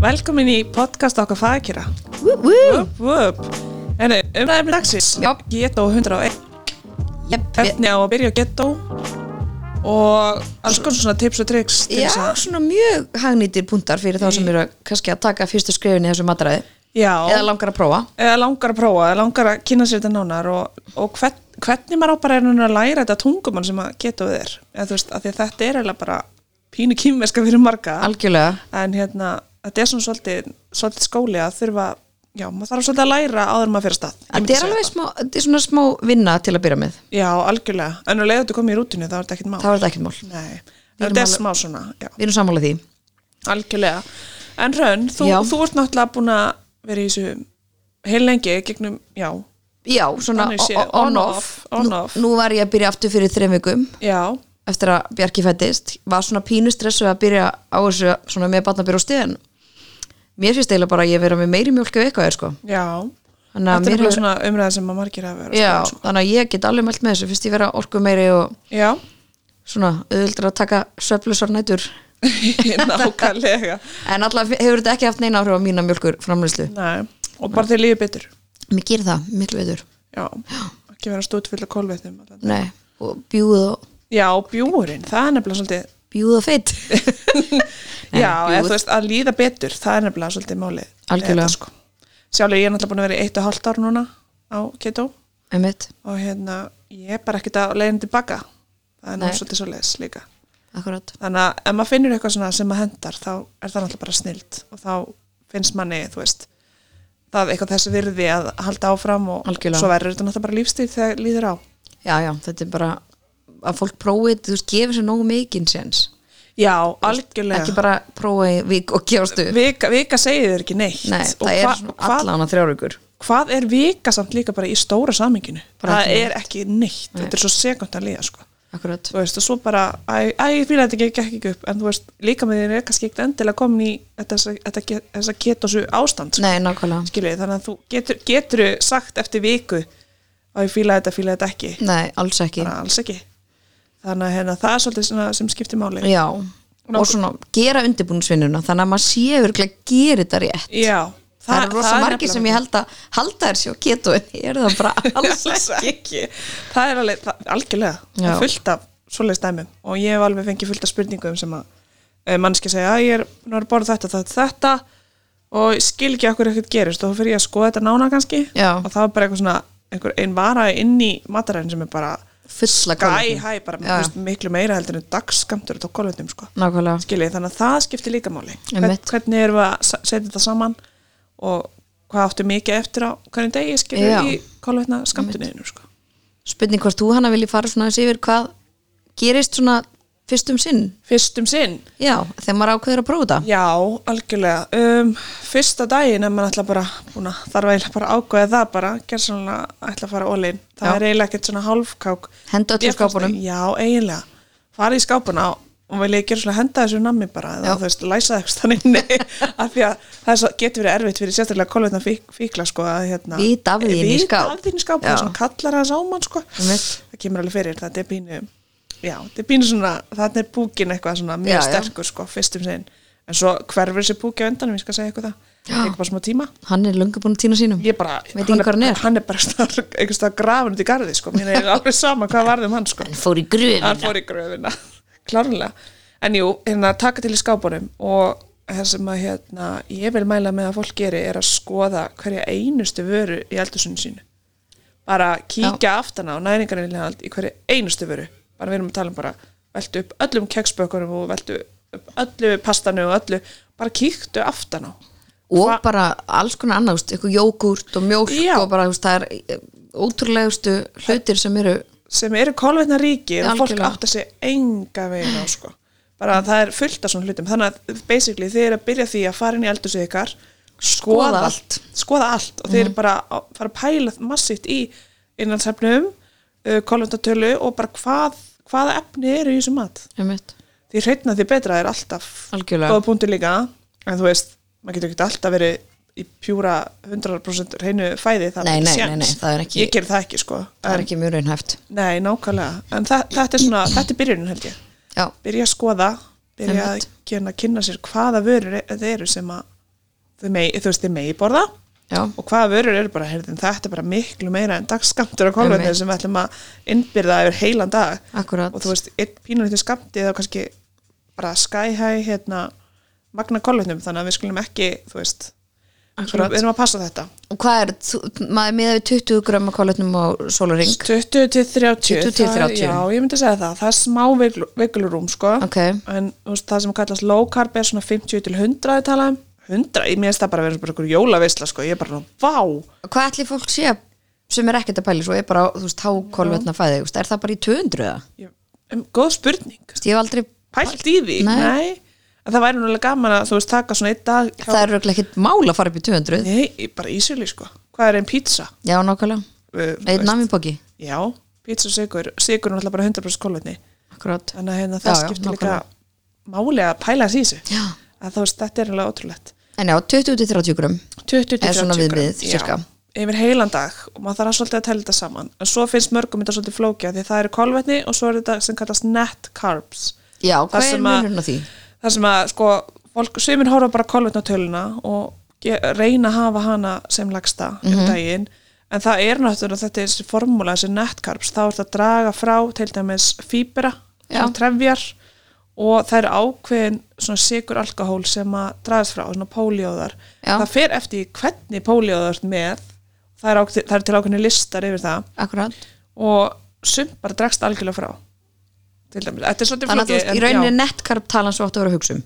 Velkomin í podcast okkar fagkjöra Woo, woo. Upp, upp En umræðum dagsins Já. Ghetto 101 Jep, við- Hvernig á að byrja á ghetto Og alls konar svona tips og tricks til Já, þess að- svona mjög hagnýtir puntar fyrir þá sem eru kannski að taka fyrstu skrefin í þessu mataræði Mm. Já eða langar að prófa eða langar að prófa, eða langar að kynna sér þetta nánar og, og hvern, hvernig maður á bara í rauninni að læra þetta tungumann sem að geta við þér eða þú veist, af því að þetta er eiginlega bara pínu kýmverska fyrir marga Algjörlega en hérna, þetta er svona svolítið, svolítið skóli að þurfa já, maður þarf svolítið að læra áður en maður fyrir af stað Ég myndi Þetta er segja alveg smá, þetta er svona smá vinna til að byrja með það. Já, algjörlega, en að leiða þetta komið í rútinu þá er þetta ekkert mál Það var þetta ekkert mál Nei, Við erum þetta er alveg- smá svona, já, Við erum sammála því algjörlega En Rönn, þú, Já. þú ert náttúrulega búin að vera í þessu heil lengi gegnum, já, Já, svona Þannig sé, on-off on-off, nú, on-off. nú var ég að byrja aftur fyrir þreim vikum já eftir að Bjarki fættist var svona pínu stressu að byrja á þessu svona með batnabyrja á stiðan Mér finnst eiginlega bara að ég vera með meiri mjólk ef eitthvað er sko Já, Þannig að þetta er mér bara hefur- svona umræða sem að margir hafa verið Já, að skoða, þannig að ég get alveg mælt með þessu finnst ég vera orku meiri og sko. Já, svona auðvöldur að taka söflusar nætur nákvæmlega en alltaf hefur þetta ekki haft neina áhrif á mína mjölkur framlýslu Nei, og bara þeir lífið betur mér gerir það, miklu veitur Já, ekki vera stútt fulla kólvetnum allan. Nei, og bjúð og, Já, bjúurinn, það er nefnilega svolítið bjúð og feitt Nei, Já, eða bjúgur. þú veist, að líða betur það er nefnilega svolítið málið Algjörlega. Þetta, sko. Sjálfur ég er náttúrulega búin að vera í eitt og hálft ár núna á keto einmitt, og hérna, ég er bara ekkert að leiðin tilbaka það er Nei. náttúrulega svolítið svoleiðis líka akkurat þannig að ef maður finnur eitthvað svona sem maður hendar þá er það náttúrulega bara snilt og þá finnst manni, þú veist það er eitthvað þessi virði að halda áfram og Algjörlega. svo verður þetta náttúrulega bara lífstíl þegar líður á já, já, þetta er bara að fólk prófi, þú veist, gefur sér nógu mikinn séns Já, ekki algjörlega bara prófa í vik og gefast upp Vika, vika segir þér ekki neitt Nei, og það er hva- svona hvað- allan að þrjárugur hvað er vika samt líka bara í stóra saminginu Bara það ekki er ekki neitt, þetta er svo sekund að líða sko. akkurat, þú veist, og svo bara æ, æ, ég fíla þetta ekki, gekk ekki upp, en þú veist líka með þér er kannski ekkert endilega komin í þetta, þetta, þetta, þetta ketosu ástand sko. nei, nákvæmlega skilvið, þannig að þú getur, getur sagt eftir viku að ég fíla þetta, fíla þetta ekki nei, alls ekki þannig að alls ekki þannig að hérna, það er svolítið svona sem skiptir máli já, og svona gera undirbúningsvinnuna þannig að maður sé örgulega gerir þetta rétt já það eru rosa margir sem ég held að halda þér sjó keto en ég er það bara alls alls ekki það er alveg, það, algjörlega það Já. er fullt af svoleiðis dæmum og ég hef alveg fengið fullt af spurningum sem að e, mannski segja að ég er búin að borða þetta, þetta, þetta og ég skil ekki okkur ekkert gerist og þá fyrir ég að skoða þetta nána kannski Já. og það er bara eitthvað svona einhver ein vara inn í mataræðin sem er bara fulla gæ, kolvetni. hæ, bara Já, já, miklu meira heldur en dagskamtur og tókkolvetnum sko. nákvæmlega, skiljið, þannig að það skiptir líka máli Hvern, Einmitt. hvernig erum við að sa- setja þetta saman og hvað áttu mikið eftir á hvernig degi Já. skiljið í kolvetna skamtuninu sko. spurning hvort þú hana vilji fara svona aðeins yfir hvað gerist svona fyrst um sinn fyrst um sinn, já, þegar maður ákveður að prófa þetta já, algjörlega um, fyrsta daginn ef maður ætla bara búna, þarf eiginlega bara að ákveða það bara gerðsannlega ætla að fara ólinn það Já. er eiginlega ekkert svona hálfkák henda öllum Mér fannst skápunum það- Já, eiginlega. Fara í skápuna og vil ég gera svona henda þessu nammi bara eða Já. þú veist, læsa það eitthvað þannig nei, af því að það er svo, getur verið erfitt fyrir sérstaklega kolvetna fík, fíkla sko að hérna Vita af því inn í skáp. Vita af þín í sko. skáp, það Já. er svona kallar hans á mann sko Einmitt. Það kemur alveg fyrir, þetta er pínu Já, þetta er pínu svona, þarna er búkin eitthvað svona mjög Já, já. sterkur sko, fyrstum sinn En svo hverfur þessi búki á endanum, ég skal segja eitthvað það Það tekur bara smá tíma hann er löngu búin að týna sínum Ég bara, Veit ekki hvar hann er. hann er bara einhvers stað grafin út í garði sko, mér er alveg sama hvað varðum hann sko hann fór í gröfin hann fór í gröfina klárlega, en jú, hérna taka til í skápunum og það sem að hérna, ég vil mæla með að fólk geri er að skoða hverja einustu vöru í eldursunum sínu bara kíkja aftana á næringarinlihald í hverju einustu vöru bara við erum að tala um bara veltu upp öllum keksbökunum og veltu upp öllu pastanu og öllu, bara kíktu aftana á og bara alls konar annað, þú veist, eitthvað jógurt og mjólk Já. og bara, þú veist, það er eh, ótrúlegustu hlutir sem eru sem eru kolvetna ríki og fólk Algjörlega. átt að segja enga veginn á sko. bara að það er fullt af svona hlutum þannig að basically þið eru að byrja því að fara inn í eldursu ykkar skoða, Skoða Mhm. allt skoða allt og þið eru bara að fara að pæla massíft í innansefnum uh, kolvetnatölu og bara hvað hvaða efni eru í þessu mat einmitt, því hreitna því betra er alltaf Algjörlega. góða punktur líka en þú veist, maður getur ekki alltaf verið í pjúra 100% hreinu fæði það er Nei, ekki nei, séns. nei, nei, það er ekki- ég ger það ekki sko það er ekki mjög reynhæft Nei, nákvæmlega, en þa þetta er svona, þetta er byrjunin held ég. já, Byrja að skoða, byrja að Einmitt. kynna, kynna sér hvaða vörur e- þetta eru sem að þau megi, þú veist, þið megi borða já, og hvaða vörur eru bara, heyrðin, þetta er bara miklu meira en dagskamtur og kolvetni Einmitt. sem við ætlum að innbyrða yfir heilan dag Akkúrat. og þú veist, einn pínulítið skamti þá kannski bara sky high hérna, magna kolvetnum, þannig að við skulum ekki þú veist, Akkúrat. við erum að passa þetta og hvað er, þú, maður miða við 20 grömmu kolvetnum á sólaring 20 til 30, 20 til það- 30. já, ég myndi að segja það, það er smá veiklu- veiklurum sko, Ok. en þú veist, það sem kallast low carb er svona 50 til 100 tala, 100, um. ég minnst það bara verður bara einhver jólavisla sko, ég er bara, vá hvað ætli fólk sé sem er ekkert að pæli svo er bara, þú veist, hákolvetna fæði þú veist, er það bara í 200 eða? Þú ég, um, góð spurning, veist, ég hef aldrei, pælt í því Nei. nei, að það væri núlega gaman að þú veist taka svona einn dag hjá- það er örugglega ekkert mál að fara upp í 200 nei, í- bara ísjölu sko, hvað er einn pizza já, nákvæmlega, Uh, þú einn veist, namibóki já, pizza og sigur, sigur er náttúrulega bara 100% kolvetni akkurat, þannig að hérna, Já, það já, skiptir líka máli að pæla þessi í þessu já að þú veist, þetta er alveg ótrúlegt en já, 20-30 grömm 20 til Eða svona 30 viðmiðið, grömm, já, sirka. yfir heilan dag og maður þarf að svolítið að tella þetta saman en svo finnst mörgum þetta svolítið flókja því að það eru kolvetni og svo er þetta sem kallast net carbs já, Það hvað er sem að- munurinn á því? það sem að sko, fólk, sumir horfa bara kolvetnatöluna og ge- reyna að hafa hana sem lagsta um Mhm. daginn, en það er náttúrulega þetta er þessi formúla, þessi netkarps þá er þetta að draga frá til dæmis fýbera, Já. trefjar og það er ákveðin svona sigur alkohól sem að dragast frá svona póljóðar, Já. það fer eftir í hvernig póljóðar þú ert með það er, ákveð, það er til ákveðin listar yfir það akkurat, og sumt bara dragst algjörlega frá til dæmis, þetta er svolítið þannig að þú veist, en í já. rauninni nettkarp talan svo átt að vera að hugsa um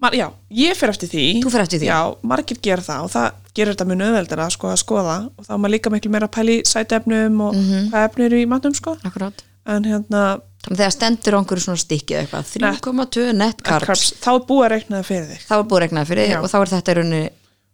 Mar, já, ég fer eftir því Þú fer eftir því? Já, margir gera það og það gerir þetta mjög nöðveldara sko, að skoða og þá er maður líka miklu meira að pæla í sætefnum og Mhm. hvað efni eru í matnum sko. akkurat, en hérna, þannig að þegar stendur á einhverju svona stikki eða eitthvað, 3,2 nettkarps carbs, þá er búið að reikna það fyrir þig þá er búið regnað fyrir Já. og þá er þetta í rauninni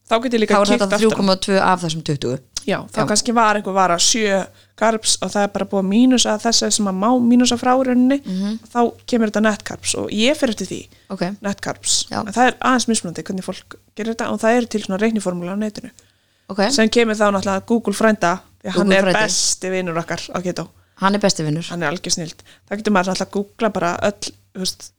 þá getur þá líka er kíkt þetta aftur á- 3,2 af þessum 20 já, þá kannski var einhver vara 7 carbs og það er bara búið að mínusa þess sem að má mínusa frá í rauninni þá kemur þetta net carbs og ég fer eftir því Mhm. ok, net carbs, Já. en það er aðeins mismunandi hvernig fólk gerir þetta og það eru til svona reikniformúla á netinu ok, sem kemur þá náttúrulega Google frænda því að hann Google er frændi. besti vinnur okkar á Keto, hann er besti vinnur hann er algjör snild það getur maður náttúrulega að googla bara öll þú veist,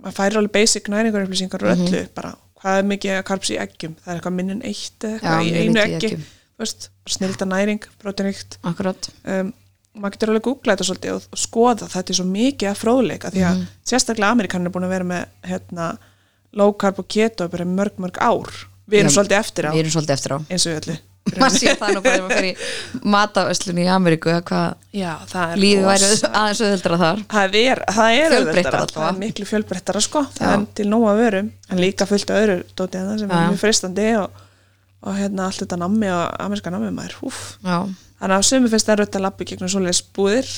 maður færir alveg basic næringar upplýsingar og Mhm. öllu, bara hvað er mikið karps í eggjum, það er eitthvað minnin eitt eða Já, eitthvað í mjög einu lítið í eggi eggjum. þú veist, bara snilda næring, brotinrikt akkurat, um, maður getur alveg að googla þetta svolítið og, og skoða þetta er svo mikið að fróðleika því að Mhm. sérstaklega Amerikanin er búin að vera með hérna, low carb og keto bara í mörg mörg ár, við erum Já, svolítið eftir á við erum svolítið eftir á eins og við öllu maður sé það nú bara þegar maður fer í matavöslun í Ameríku eða hvað Já, það er lífið væri rosa- aðeins auðvöldra þar Það er, það er Fjölbreyttara auðveldara. allavega. það er miklu fjölbreyttara sko það er til nóg að vörum, en líka fullt af öðru dótið en það sem Já, já. er mjög freistandi og, og hérna allt þetta nammi og amerska nammi maður, úf já, þannig að sömu finnst það rötta lappi gegnum svoleiðis búðir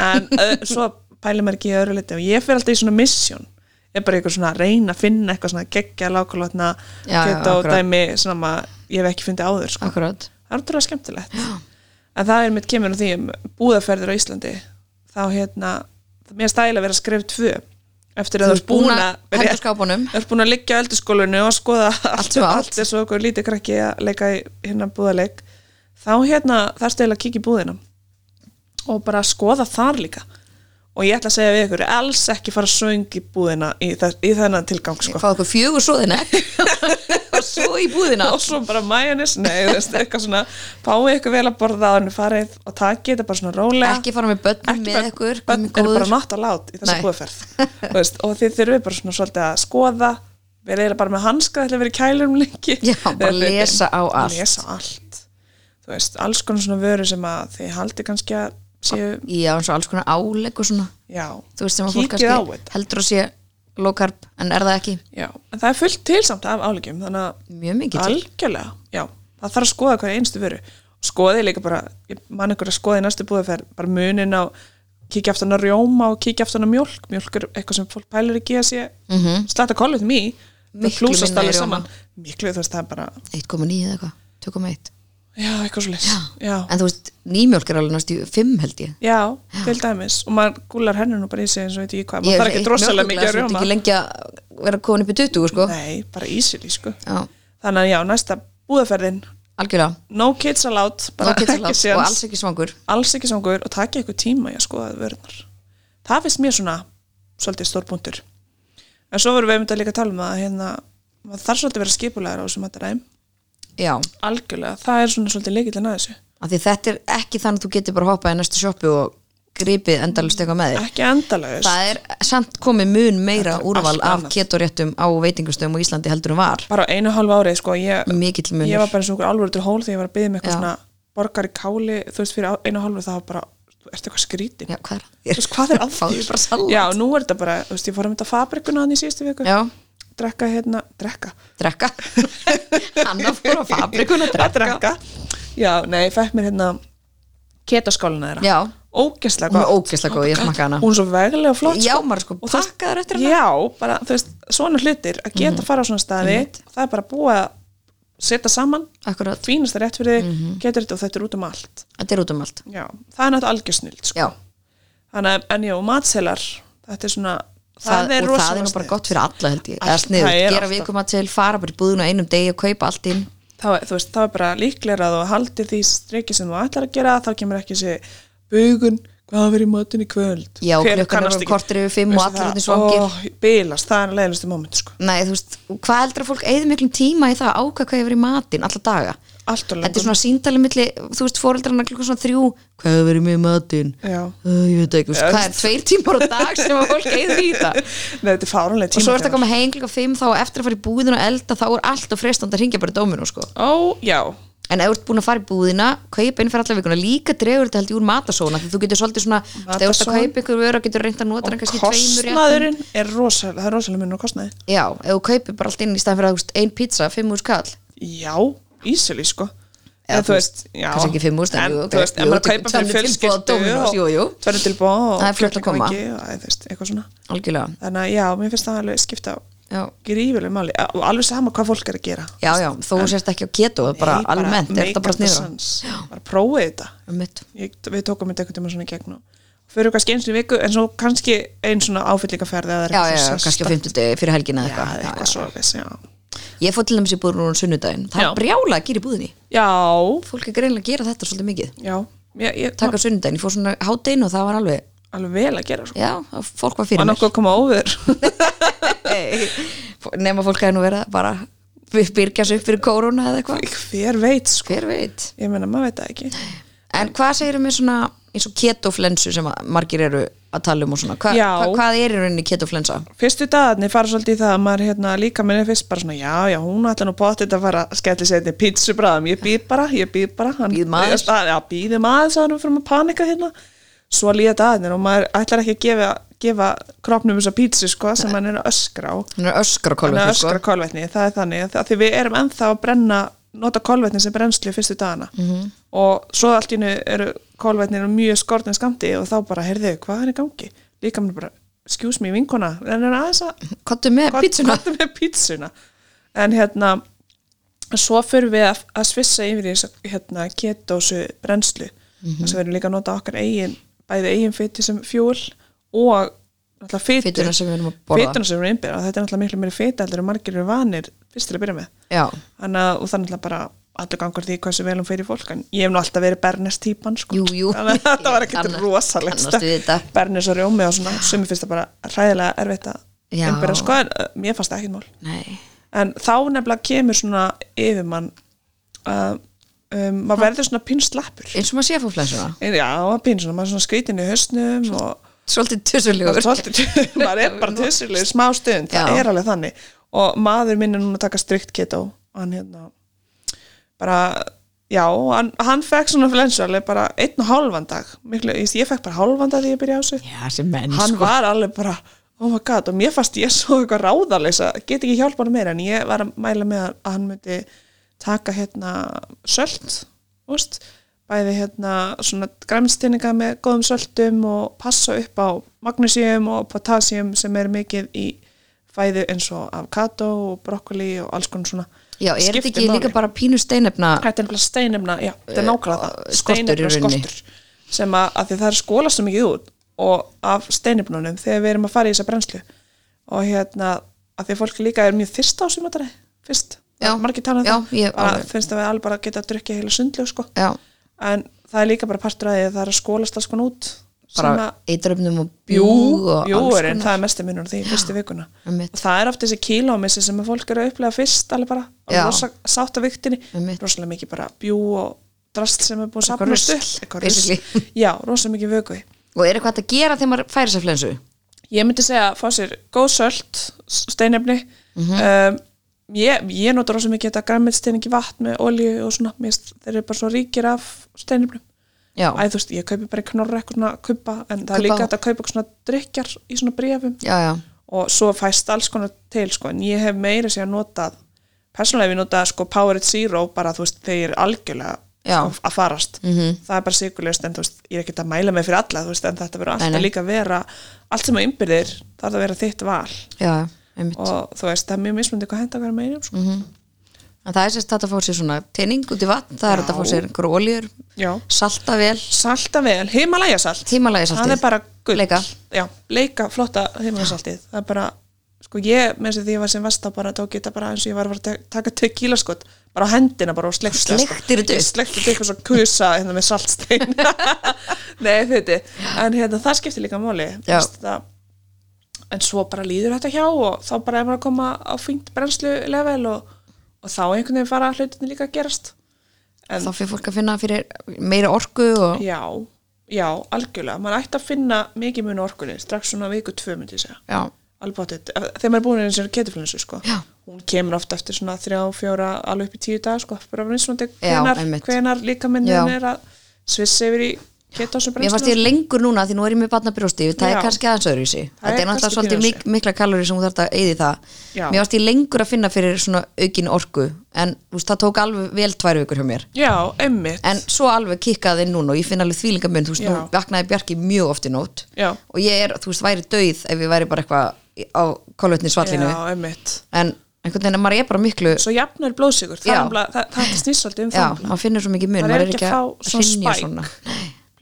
en öð, svo pælir maður ekki í öðru liti og ég fer alltaf í svona misjón ég er bara eitthvað svona að reyna að finna eitthvað svona geggja lákulotna Já, já, geta og akkurat. dæmi sem að ég hef ekki fundið áður sko. akkurat það er útrúlega skemmtilegt en það er mitt kemur á því um búðaferðir á Íslandi þá hérna mér stæla að vera skref tvö eftir að þú ert búin að hendur skápunum þú ert búin að liggja á eldurskólinu og skoða allt, Allt og allt. allt eins og okkur lítið krakki að leika í hérna búðaleik þá hérna þarftu eiginlega að kíkja í búðina og bara skoða þar líka og ég ætla að segja við ykkur alls ekki fara að söng í búðina í, þess, í þennan tilgang sko fá okkur fjögur svoðina og svo í búðina og svo bara majónis, nei, þú veist, eitthvað svona fáið eitthvað vel að borða á henni farið og takið þetta bara svona rólega ekki fara með börnum með börn- ykkur börn eru bara komið góður nátt að lát í þessu Nei. búðferð Þú veist, og þið þurfið bara svona svolítið að skoða við erum bara með hanska þetta verið kælurum lengi Já, bara Þið- þið- lesa á bara allt. lesa á allt þú veist, alls konar svona vöru sem að þið haldið kannski að séu já, eins og alls konar álegg og svona já, þú veist sem að fólk kíkið á kannski þetta heldur að sé low carb en er það ekki já, en það er fullt tilsamt af álegjum þannig að mjög mikið til algjörlega, já, það þarf að skoða hverja einstu vöru skoði líka bara, ég man einhver að skoða í næstu búðaferð, bara munin á kíkja aftan á rjóma og kíkja aftan á mjólk mjólk er eitthvað sem fólk pælar ekki að sé mm -hmm. slata kolvetnum í það Mhm. Miklu plúsast minna í alveg rjóma. saman miklu þú veist það er bara, 1,9 eða eitthvað 2,1 já eitthvað svo leys já, en þú veist, nýmjólk er alveg næstu 5 held ég já, til dæmis og maður gúlar hennu nú bara í sig eins og veit ekki hvað Ég maður þarf ekki eitt drossalega mikið að mjólkurglas, þú ert rjóma ekki lengi að vera komin upp í 20 sko. nei, bara ísili sko Já, þannig að já, næsta búðaferðin algjörlega no kids allowed, bara Bara ekki kittlát séns. og alls ekki svangur alls ekki sangur og taka ykkur tíma í að skoða vörunar. Það finnst mér svona svolítið stór punktur. En svo vorum við einmitt að líka að tala um að hérna, maður þarf svolítið að vera skipulegar á þessum mataræðum já, algjörlega, það er svona svolítið leikillin að þessu af því þetta er ekki þannig að þú getur bara hoppað í næstu sjoppu og gripið endalust eitthvað með þér ekki endalaus, það er samt komið mun meira Þetta er úrval allt af annað. ketoréttum á veitingustöðum á Íslandi heldur en var bara á einu og hálfu ári sko, ég, mikill munur ég var bara eins og okkur alvöru til hól þegar ég var að byggja með eitthvað Já. svona borgar í káli, þú veist, fyrir á- einu og hálfu það var bara, þú ert eitthvað skrítin já, hvað er að þú þér? veist, hvað er að Fáðu þér bara salat. já, nú er þetta bara, þú veist, ég fór að mynda fabrikuna hann í síðustu viku, já, drekka hérna drekka, drekka Anna fór á fabrikun að að drekka drekka já, nei, ég fekk mér hérna ketaskálina þeirra já, ógeðslega hún gott, er ógeðslega góð, ég smakka hana hún er svo veglega og flott já, sko. maður sko Og það- pakkaður eftir hana Mhm. já, bara, þú veist, svona hlutir að geta að fara á svona staði, það er bara búið að setja saman, akkurat, fínasta rétt fyrir þig Mhm. getur þetta og þetta er út um allt þetta er út um allt já, það er náttúrulega algjör snild sko. já, þannig að, en já, matselar þetta er svona, það, er það, og það er rosalega nú bara sniðugt. gott fyrir alla held ég, eða Allt- sniður, það er gera alltaf- vikum að til fara bara í búðinu einum degi og kaupa allt inn þá, þú veist, þá er bara líklega að þú haldir því streiki sem þú ætlar að gera þá kemur ekki þessi bugun hvað verið matinn í kvöld Já, Hver klukkan kannast er ekki? korter yfir fimm og Veistu allir það? út í svangir. Ó, bilast, það er leiðlustu moment sko. Nei, þú veist, og hvað heldur að fólk eigði miklum tíma í það að ákvæða hvað hefur í matinn alla daga? allt og Þetta er lengur svona síndalið milli, þú veist, foreldrarna klukkan svona þrjú, hvað hefur verið með matinn? Já. Uh, ég veit ekki, þú veist, Já, hvað er tveir tímar á dag sem að fólk eigði í það? Nei, þetta er fáránlega Og tíma svo ertu að koma heim klukkan fimm þá á eftir að fara í búðina og elda, þá er alltaf freistandi að ringja bara í dóminu, sko. ó, já, En ef þú ert búin að fara í búðina, kaupa inn fyrir alla vikuna, líka dregur þetta held ég úr matasóna, því þú getur svolítið svona, þú veist, ef þú ert að Matarsóun. kaupa ykkur vöru, getur reynda að nota hann og kannski tveimur réttum. kostnaðurinn er rosalega, það er rosalega munur á kostnaði Já, ef þú kaupir bara allt inn í staðan fyrir að þú veist, ein pizza, fimm úr skall já, ísili sko Eða, Eða, þú veist, já. kannski ekki fimm úrstæðan, En, jú, ok. þú veist, Jú, en maður til- kaupa fyrir tvennu tilboð á fjölskyldu Dominos, jú, jú. tvennu tilbúð og Það er fljótt að koma. kjötleikvangi og eða, þú veist, eitthvað svona Algjörlega, þannig að já, mér finnst það alveg skipta já grífileg máli og alveg sama hvað fólk er að gera Já, já, þó þú sérst ekki á keto bara Nei, almennt, er make þetta bara up Um the sniðra sense. bara prófið þetta Einmitt. ég, við tókum þetta einhvern tíma svona í gegn og fyrir kannski eins og viku en svo kannski eins svona áfyllíkaferði Já, já, já, kannski á fimmtudegi fyrir helgina já, eitthvað Já, eitthvað svo já. já. Ég fór til dæmis í búðunum sunnudaginn Það Já. er brjála að gera í búðinni já, Fólk er greinlega að gera þetta svolítið mikið já ég, ég, Takk á sunnudaginn, ég fór svona hátdeinu og það var alveg alveg vel að gera sko. Já, það- fólk var fyrir var nokkuð að koma óver mér Nefna fólk hefði nú verið að bara byrgja sig upp fyrir korona eða eitthvað hver veit sko. Hver veit ég meina maður veit það ekki En hvað segirum við svona eins og ketoflensu sem að margir eru að tala um og svona, hva, Já. hva, hvað er í rauninni ketoflensa? fyrstu dagarnir fara svolítið í það að maður hérna, líka minni fyrst bara svona já, já, hún ætla nú potið að fara að skelli setni pítsu bræðum, ég býð bara, ég býð bara hann, Bíð maður. Ég- að- já, býði maður svo erum við fyrir að panika hérna svo líða dagarnir og maður ætlar ekki að gefa, gefa kroppnum þessa pítsu sko, sem hann er að öskra á Hún er öskra hann er kolvetni að sko. öskra kolvetni, það er þannig að- að því við erum ennþá að brenna, nota kolvetni sem brennslu fyrstu dagana Mhm. -hmm. og svo allt í hennu eru kolvetnir mjög skortin skamti og þá bara, heyrðu, hvað er í gangi? Líka mér bara, excuse me, vinkona en er aðeins að Kottu með pítsuna hvað með pítsuna en hérna svo fyrir við að, að svissa yfir í þessa hérna, ketósu brennslu Mhm. þess að við erum líka að nota okkar eigin bæði eigin fytti sem fjúl og náttúrulega fytu Fituna sem við erum að borða. Fituna sem við erum að innbyrða og þetta er náttúrulega miklu meiri fyta heldur en margir eru vanir fyrst til að byrja með Já, Þannig að, og það er náttúrulega bara allur gangur því hversu velum fyrir fólk en ég hef nú alltaf verið Bernes típan sko. Jú, jú. þannig að þetta var ekkert Kannast- rosalegt kannast við þetta. Bernes og Rjómi og svona sem finnst það bara hræðilega erfitt að Já. innbyrða sko en uh, mér fannst það ekkert mál nei en þá nefnilega kemur svona yfirmann að um, maður verður svona pinnslappur eins og maður sé að fá flensuna já, pinn svona, maður er svona skrítin í höstnum og svolítið tussulegur svolítið, maður er bara tussuleg smá stund, það Já. er alveg þannig og maður minn er núna að taka strikt keto hann hérna bara, já, hann, hann fekk svona flensu alveg bara einn og hálfan dag Miklu, ég, ég fekk bara hálfan dag því ég byrja á sig já, sem menn hann sko. var alveg bara oh my god, og mér fannst ég svo eitthvað ráðarleisa get ekki hjálpa hann meira, en ég var að mæla með að hann myndi taka hérna sölt úst, bæði hérna svona græmstinninga með góðum söltum og passa upp á magnesium og potassium sem er mikið í fæðu eins og avokado og brokkoli og alls konar svona já, er þetta Skiptir ekki máli. líka bara pínu steinefna Þetta er nefnilega steinefna, já, þetta er nákvæmlega það Eh, skortur í steinefna rauninni. skortur sem að, að því það er skólast svo mikið út og af steinefnunum þegar við erum að fara í þessa brennslu og hérna að því fólk líka er mjög þyrst á sumatari, fyrst Já, Það er margir tala um já, það, ég- bara alveg. finnst að við alveg bara geta að drukja heila sundljó sko já, en það er líka bara partur að því að það er að skólast alls konar út sem bara að eitröfnum og bjú, bjú og bjúurinn, það er mesti munur á því í fyrstu vikuna Einmitt. og það er oft þessi kílómissi sem að fólk eru að upplega fyrst alveg bara, Já. alveg rosa, sátt af viktinni Einmitt. rosalega mikið bara bjú og drast sem er búið að Eitthvað sapna rusl, stull eitthvað rusl, basically. já, rosalega mikið vökuði og er eitthvað hægt að gera þegar maður færi sér flensu ég myndi segja að fá sér góð sölt steinefni Mhm. um, ég, ég nota rosa mikið þetta græmmetsteiningi vatn með olíu og svona mér finnst þeir eru bara svo ríkir af steinefnum já, Æ, þú veist, ég kaupi bara í knorra eitthvað svona kupa en það er Kubba. líka hægt að kaupa eitthvað svona drykjar í svona bréfum já, já, og svo fæst alls konar til sko, en ég hef meira sér að notað persónulega hef ég notað sko Powerade Zero bara þú veist þeir algjörlega Já. Mhm. sko, að farast, -hmm. það er bara sigurlegust en þú veist, ég er ekkert að mæla mig fyrir alla þú veist, en þetta verður alltaf Nei, nei. líka að vera allt sem að ymbirðir þarf það að vera þitt val já, já, einmitt og þú veist, það er mjög mismundi hvað henda hverja meirum sko. Mhm. en það er sérst hægt að fá sér svona teining út í vatn það er hægt að fá sér gróljur, Já, salta vel salta vel, himalaya salt tímalagi saltið, það er bara gull Bleika. Já, bleika, flotta himalaya-saltið það er bara, sko ég með þess að því ég var sem vasta bara tók ég þetta bara eins og ég var að fara að te- taka tequila skot bara á hendina bara og sko. slekta Sleiktir þetta upp? slektir þetta upp og svo kusa hérna með saltstein nei þetta, en hérna það skiptir líka móli Já. það, en svo bara líður þetta hjá og þá bara er maður að koma á fengt brennslu level og, og þá einhvern veginn fara hlutinni líka að gerast þá fyrir fólk að finna fyrir meira orku og já, já, algjörlega maður ætti að finna mikið mun á orkunni strax svona viku tvö myndi ég segja já, alveg bóttið, þegar maður er búin eins og ketuflensu sko, Já. hún kemur oft eftir svona þrjá, fjóra, alveg upp í tíu dag sko, bara verið svona Já, hvenar, einmitt. hvenar líka Já. minnum er að svissa yfir í ketásu Mér fannst ég lengur núna því nú er ég með barnabrjósti það Já. er kannski aðeins öðru í sig Það þetta er er náttúrulega kannski svolítið pínu mik mikla kalori sem þú þarf að eyði það Já. Mér fannst ég lengur að finna fyrir svona aukin orku en þú veist, það tók alveg vel tvær vikur hjá mér já, einmitt en svo alveg kikkaði inn núna og ég finn alveg þvílingamun þú veist, nú Já. vaknaði Bjarki mjög oft í nót Já. og ég er, þú veist, væri döið ef ég væri bara eitthvað á kolvetni svallinu já, einmitt en einhvern veginn, maður er bara miklu svo jafnar blóðsigur, það, Já. er nefnilega- það, það snýst svolítið um já, það maður finnur svo mikið mun, Maður er ekki að fá svona hrynja spike. svona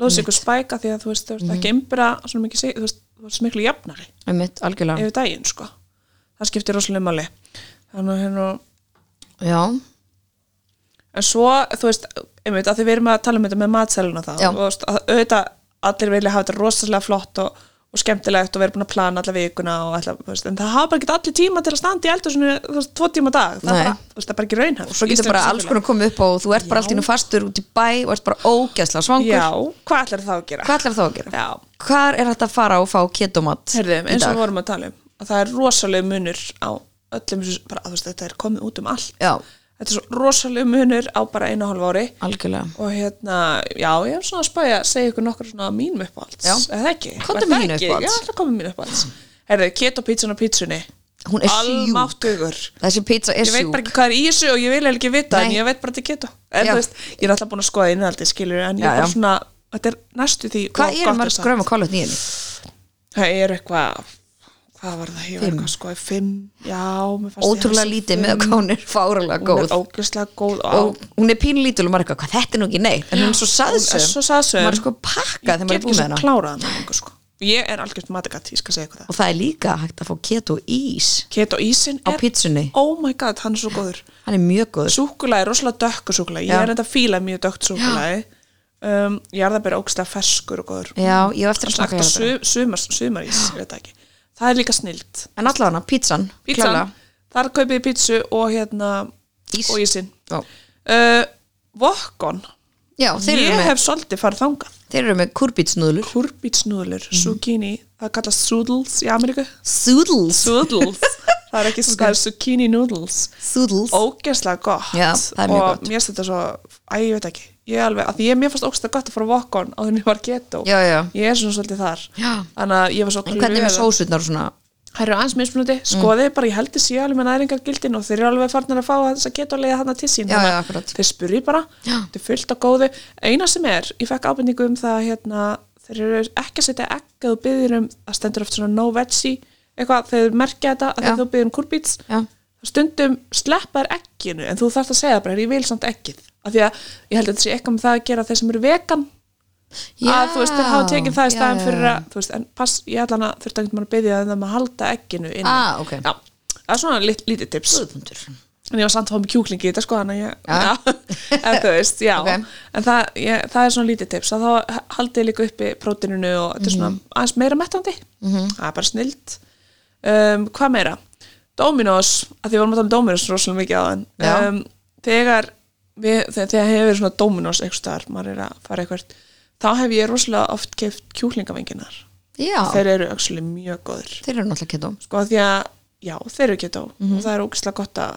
blóðsigur spæka því að þú veist, þú veist Mhm. ekki einbra svona mikið, sig- þú veist, þú veist miklu jafnari Einmitt, algjörlega, yfir daginn sko, það skiptir rosalega máli þannig að hérna já en svo, þú veist, einmitt að því við erum að tala um þetta með matseluna það Já. og þú veist, að auðvitað allir vilja hafa þetta rosalega flott og, og skemmtilegt og vera búin að plana alla vikuna og alltaf, þú veist, en það hafa bara ekki allir tíma til að standa í eldur svona, þú veist, tvo tíma á dag það, Nei. er bara, þú veist, það er bara ekki raunhæft og svo getur bara alls konar komið upp á og þú ert bara allt í nú fastur út í bæ og ert bara ógæsla svangur Já, hvað ætlar það að gera? hvað ætlar þá að gera? Já, Hvar er þetta að fara og fá ketomat herðum, í eins og dag? við vorum að tala um að það er rosalega munur á öllum, þessu- bara, þú veist, þetta er komið út um allt Já, þetta er svo rosalega munur á bara einu og hálf ári algjörlega og hérna, já, ég hef svona að spæja að segja ykkur nokkar svona af mínum uppáhalds Já. eða ekki, Komdu Var með það mín ekki? uppáhalds. já, það komið mín uppáhalds herðu, keto pizzan á pizzunni Hún er sjúk, allmáttugur þessi pizza er ég veit sjúk bara ekki hvað er í þessu og ég vil eiginlega ekki vita Nei. en ég veit bara þetta er keto en Já. þú veist, ég er alltaf búin að skoða innhaldi skilur en ég Já, er bara já. svona, þetta er næstu því og Hvað gott er mörg samt. gröma kolvetni í henni? það er eitthvað hvað var það, ég var eitthvað skoði fimm, já, mér fannst ég Ótrúlega þessi lítið fimm. með að hún er fáralega hún góð er ógeðslega góð og, og hún er pínlítil og maður er eitthvað, hvað þetta er nú ekki nei en hún er svo saðsum, Hún er svo saðsöm. maður er sko pakkað þegar maður er ég get ekki búin með svo hennar klárað hana lengur, sko. ég er algjört matagat, ég skal segja ykkur það og það er líka hægt að fá keto ís Keto ísinn á er, pizzunni, oh my god, hann er svo góður hann er mjög góður Súkulega er rosalega dökku súkulega Ég Já. er enda að fíla mjög dökkt súkulega um, Jarðabæri ógstlega ferskur og góður Já, ég hef eftir Sagt að smaka að hérna su, sumar, sumarís, ég veit það ekki Það er líka snilt En allavega, pizzan, Pítsan, þar kaupið þið pítsu og hérna Ís. og ísinn Já. uh, Vokkon Já, þeir Ég eru, með, hef svolítið farið þangað þeir eru með kurbítsnúðlur Kurbítsnúðlur, Mhm. zucchini Það kallast soodles í Ameríku Súdls Soodles Það er ekki, það er zucchini noodles Súdls ógeðslega gott Já, það er mjög og gott. mér finnst þetta svo, æ, ég veit ekki ég er alveg, að því ég mér fannst ógeðslega gott að fara að walk on á því mér var keto Já, já ég er svona svolítið þar Já. þannig að ég var svo En hvernig er með Mm. glöð. sósurnar og svona það eru aðeins mismunandi, skoðið bara ég held þessi alveg með næringargildin og þeir eru alveg farnir að fá þess að keto leiða þarna til sín Já, þannig já, að akkurat. þeir spurri bara, Já. þetta er fullt á góðu eina sem er, ég fekk ábendingu um það hérna, þeir eru ekki að setja egg að þú byggðir um, það stendur oft svona no veggie eitthvað, þeir merkja þetta að Já. þegar þú byggðir um kurbíts Já, stundum sleppar ekkinu en þú þarft að segja bara, ég vil samt ekkið af því að ég held að þetta sé eitthvað með það að gera þeir sem eru vegan að þú veist, þeir hafa tekið það í Já, staðin já, fyrir já. að, þú veist, en pass, ég ætla hana þurfti ekkert maður að byggja það um að halda ekkinu inn Ah, ok. Já, það er svona lit, lítið tips Guðmundur. en ég var samt að fá mig kjúklingi í þetta sko þannig að ég, Ja. en þú veist, já Ok. en það, ég, það er svona lítið tips að þá haldið líka uppi próteininu og þetta er Mhm. svona aðeins meira mettandi -hmm. það er bara snilt um, hvað meira? Dominos, að því við vorum að tala um Dominos rosalega mikið á Já. þann um, þegar, við, þegar, þegar hefur verið svona Dominos eitthvað staðar, maður er að fara eitthvað þá hef ég rosalega oft keift kjúklingavenginar Já, þeir, þeir eru actually mjög góður eru náttúrulega keto sko af því að, já, þeir eru keto Mhm. og það er ógislega gott að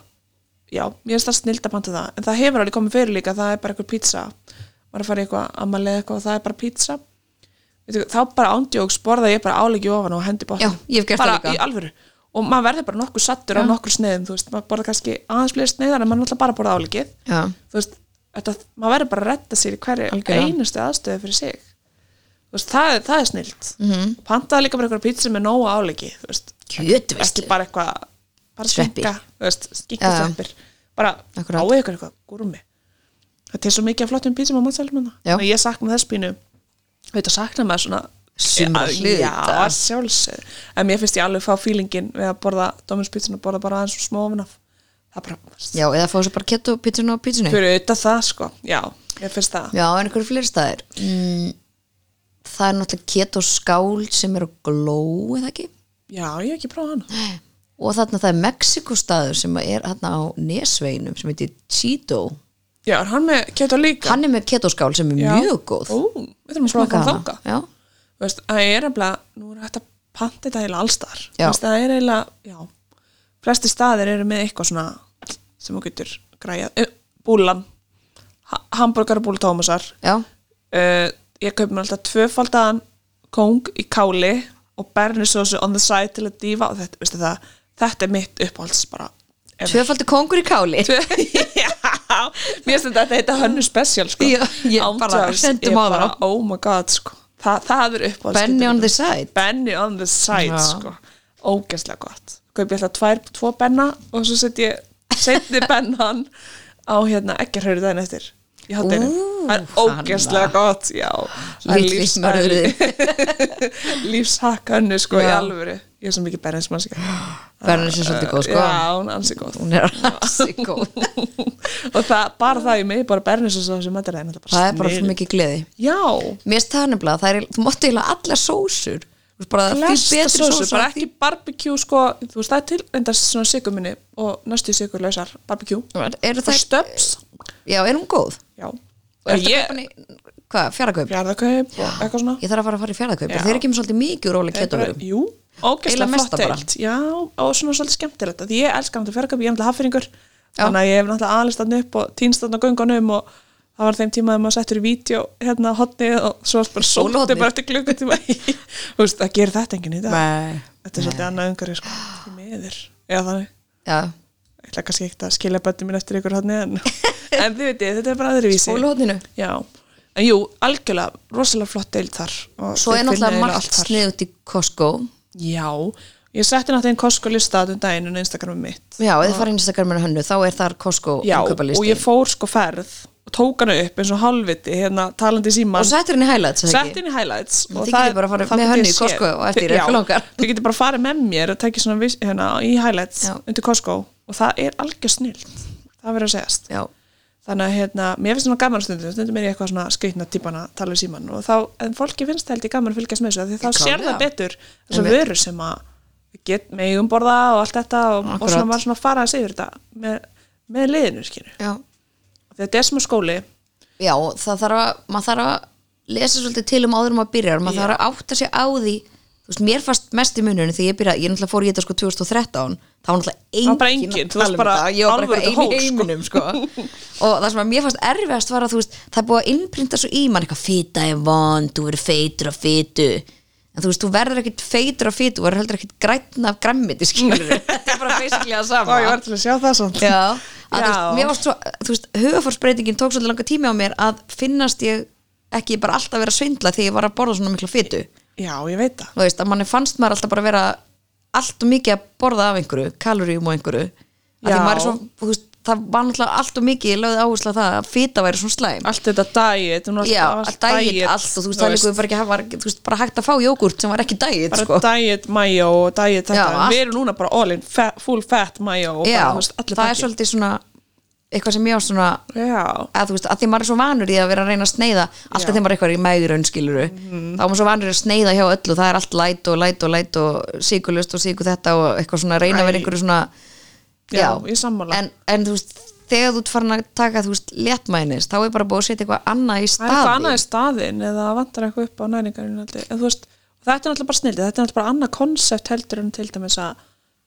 já, mér finnst það snilt að panta það en það hefur alveg komið fyrir líka, það er bara eitthvað pizza maður er að fara í eitthvað ammali eða eitthvað og það er bara pizza Veitu, þá bara ándjóks borða ég bara álegi ofan og hendi bótt Já, ég hef gert bara það líka. í alvöru og maður verður bara nokkuð sattur á nokkur sneiðum þú veist, maður borða kannski aðeins fleiri sneiðar en maður náttúrulega bara borða álegið Já, þú veist, þetta, maður verður bara að retta sér í hverju Algjörlega. einustu aðstöðu fyrir sig þú veist, það, er- það er snilt mm Mhm. -hmm. pantaði líka bara eitthvað pizza með nógu álegi þú veist, kjötvislu ekki bara eitthvað bara Sveppi. skinka, þú veist, skinka Já. sveppir bara Akkurat. á ykkur eitthvað gúrumi það er svo mikið af flottum pítsum á matselum Já. ég sakna þess pínu auðvitað sakna maður svona Sumra Að- hluta. já, að sjálfsögðu. en mér finnst ég alveg fá fílingin við að borða Dómins pítsun og borða bara aðeins smá ofan af það er bara, Já, eða fá þessu bara keto pítsunni og pítsunni fyrir auðvitað það sko já, ég finnst það Já, en einhverju fleiri staðir mm, Það er náttúrulega keto skál sem er á gló eða ekki já, ég hef ekki prófað hana og þarna það er Mexiko staður sem er þarna á Nesveinum sem heitir Cheeto já, er hann með keto líka Hann er með keto skál sem er Já. mjög góð ó, við þurfum að prófa að Smakka koma hana. þanga Já, Þú veist, það er eiginlega, nú er þetta panta þetta eiginlega allstar Já. það er eiginlega, já flesti staðir eru með eitthvað svona sem þú getur græjað Eh, búlan, ha hamburgarabúl Tómasar já, uh, ég kaup mér alltaf tvöfaldaðan kóng í káli og bernisósu on the side til að dýfa og þetta, veistu það, þetta er mitt uppáhalds bara ever. tvöfaldi kongur í káli já, mér finnst þetta þetta hönnu spesial sko. Já, ég bara- Ándjóks, sendum ég á það. bara, oh my god sko. Þa, það er uppáhalds Benny on the side Benny on the side Já. sko. ógeðslega gott kaupi alltaf tvær, tvo benna og svo sett ég setni bennan á hérna ekkjarhörðu daginn eftir í hátinu, Ú, það er ógeðslega gott já, það er Litli lífs- lífshakkannu sko í Já. alvöru ég er svo mikið berins mann sér Bernin sem svolítið góð sko Ah, já, hún er ansi góð Hún er rassi góð og það, bara það í mig, bara bernis og svo sem þetta er það Það er bara svo mikið gleði já, Mér finnst það nefnilega, það er, þú mátti eiginlega allar sósur Þú veist, bara því flesta betri sósu, sósa bara ekki barbecue sko, þú veist það er til enda svona sigurminni og næstu sigurlausar barbecue Eru og það, stöps, já, er hún góð? já Og ertu ég, komin í, hvað, fjarakaup? fjarðakaup og eitthvað svona Ég þarf að fara að fara í fjarakaup Já. Þeir eru ekki með svolítið mikið úr ólega Ég bara, ketovörum jú, Eiginlega ógeðslega mesta flott bara. eilt já, og svona svolítið skemmtilegt af því ég elskar náttúrulega fjarðakaup, ég er náttúrulega haffyringur þannig að ég hef náttúrulega aðlist þarna upp og týnst þarna á göngunum og það var þeim tíma að maður settur í vídeo hérna hotnið og svo bara sótti Sóluhornið. bara eftir klukkutíma Þú veist, það gerir þetta enginn í dag Nei þetta er svolítið annað umhverju sko, í meður eða þannig, Já, ég ætla kannski ekkert að skilja bönnum minn eftir ykkur hann en, en þið veitir, þetta er bara aðrivísi skólahotninu já, en jú, algjörlega rosalega flott deil þar og Svo þið er finna náttúrulega eiginlega margt allt þar. sniðut í Costco já, ég setti náttúrulega einn Costco lista um daginn en Instagramum mitt Já, eða farið Instagram með hönnu, þá er þar Costco já, innkaupaleisti. og ég fór sko ferð og tók hana upp eins og halvviti hérna talandi í Og síman sættir henni highlights, eða sett ekki? inn í highlights Þið getið bara farið með getið Hönnu í séð. Costco á eftir, Þið- ef já, þið langar. þið getur bara farið með mér og tekið svona vis- hérna, í highlights Já. undir Costco og það er algjör snilt það verður að segjast Já, þannig að hérna, mér finnst svona gaman stundum stundum er ég eitthvað svona skreitna típan að tala í síman og þá, en fólki finnst það held ég gaman að fylgjast með þessu af því þá sér Klárlega. það betur þessar Einmitt. vörur sem að við get megum borða og allt þetta og, og Akkurat. svona maður svona fara að segja þetta með, með liðinu skilur já þetta er sem að skóli Já, og það þarf að, maður þarf að lesa svolítið til um áður en maður byrjar maður þarf að átta sig á því þú veist, mér fannst mest í mununni þegar ég byrjaði ég náttúrulega fór í þetta sko 2013 þá var náttúrulega engin, var bara enginn, þú varst tala um bara þetta, ég var bara alveg einhvern þetta veginn í heiminum sko. og það sem að mér fannst erfiðast var að þú veist, það er búið að innprinta svo í mann eitthvað fita er vond, þú verður feitur af fitu en þú veist, þú verður ekkit feitur af fitu, þú verður heldur ekkit grætna af grammiti skilur þetta er bara basically að Ó, sama ég var til að sjá það samt Já, að þú veist, Já. mér varst svo, þú veist, hugaforsbreytingin tók svolítið langa tími á mér að finnast ég ekki bara alltaf vera að svindla þegar ég var að borða svona mikla fytu. Já, ég veit það. Þú veist, að manni fannst maður alltaf bara vera allt og mikið að borða af einhverju, kaloríum og einhverju. Að því Já. maður er svo, þú veist, það var náttúrulega allt og mikið ég lögði áherslu á það að fita væri svona slæm allt þetta diet hún var já, alltaf að dægit allt og þú veist, það líka bara ekki var, þú veist, bara hægt að fá jógurt sem var ekki dægit bara sko. diet mayo og diet þetta Já, En allt. við erum núna bara all in fat, full fat mayo og já, bara, þú veist, allir það er pakki. svolítið svona eitthvað sem ég á svona já, að þú veist, að því maður er svo vanur í að vera að reyna að sneiða alltaf þegar maður er eitthvað í megraun skiluru Mhm. þá er maður svo vanur í að sneiða hjá öllu það er allt læt og læt og læt og síkulust og síku þetta og eitthvað svona reyna að vera Æ. einhverju svona Já, ég sammála. en, en þú veist, þegar þú ert farin að taka þú veist, léttmænis, þá er bara búið að setja eitthvað annað í það er eitthvað annað staði í staðin eða vantar eitthvað upp á næringarinn en þú veist, þetta er náttúrulega bara snildið þetta er náttúrulega bara annað konsept heldur en til dæmis að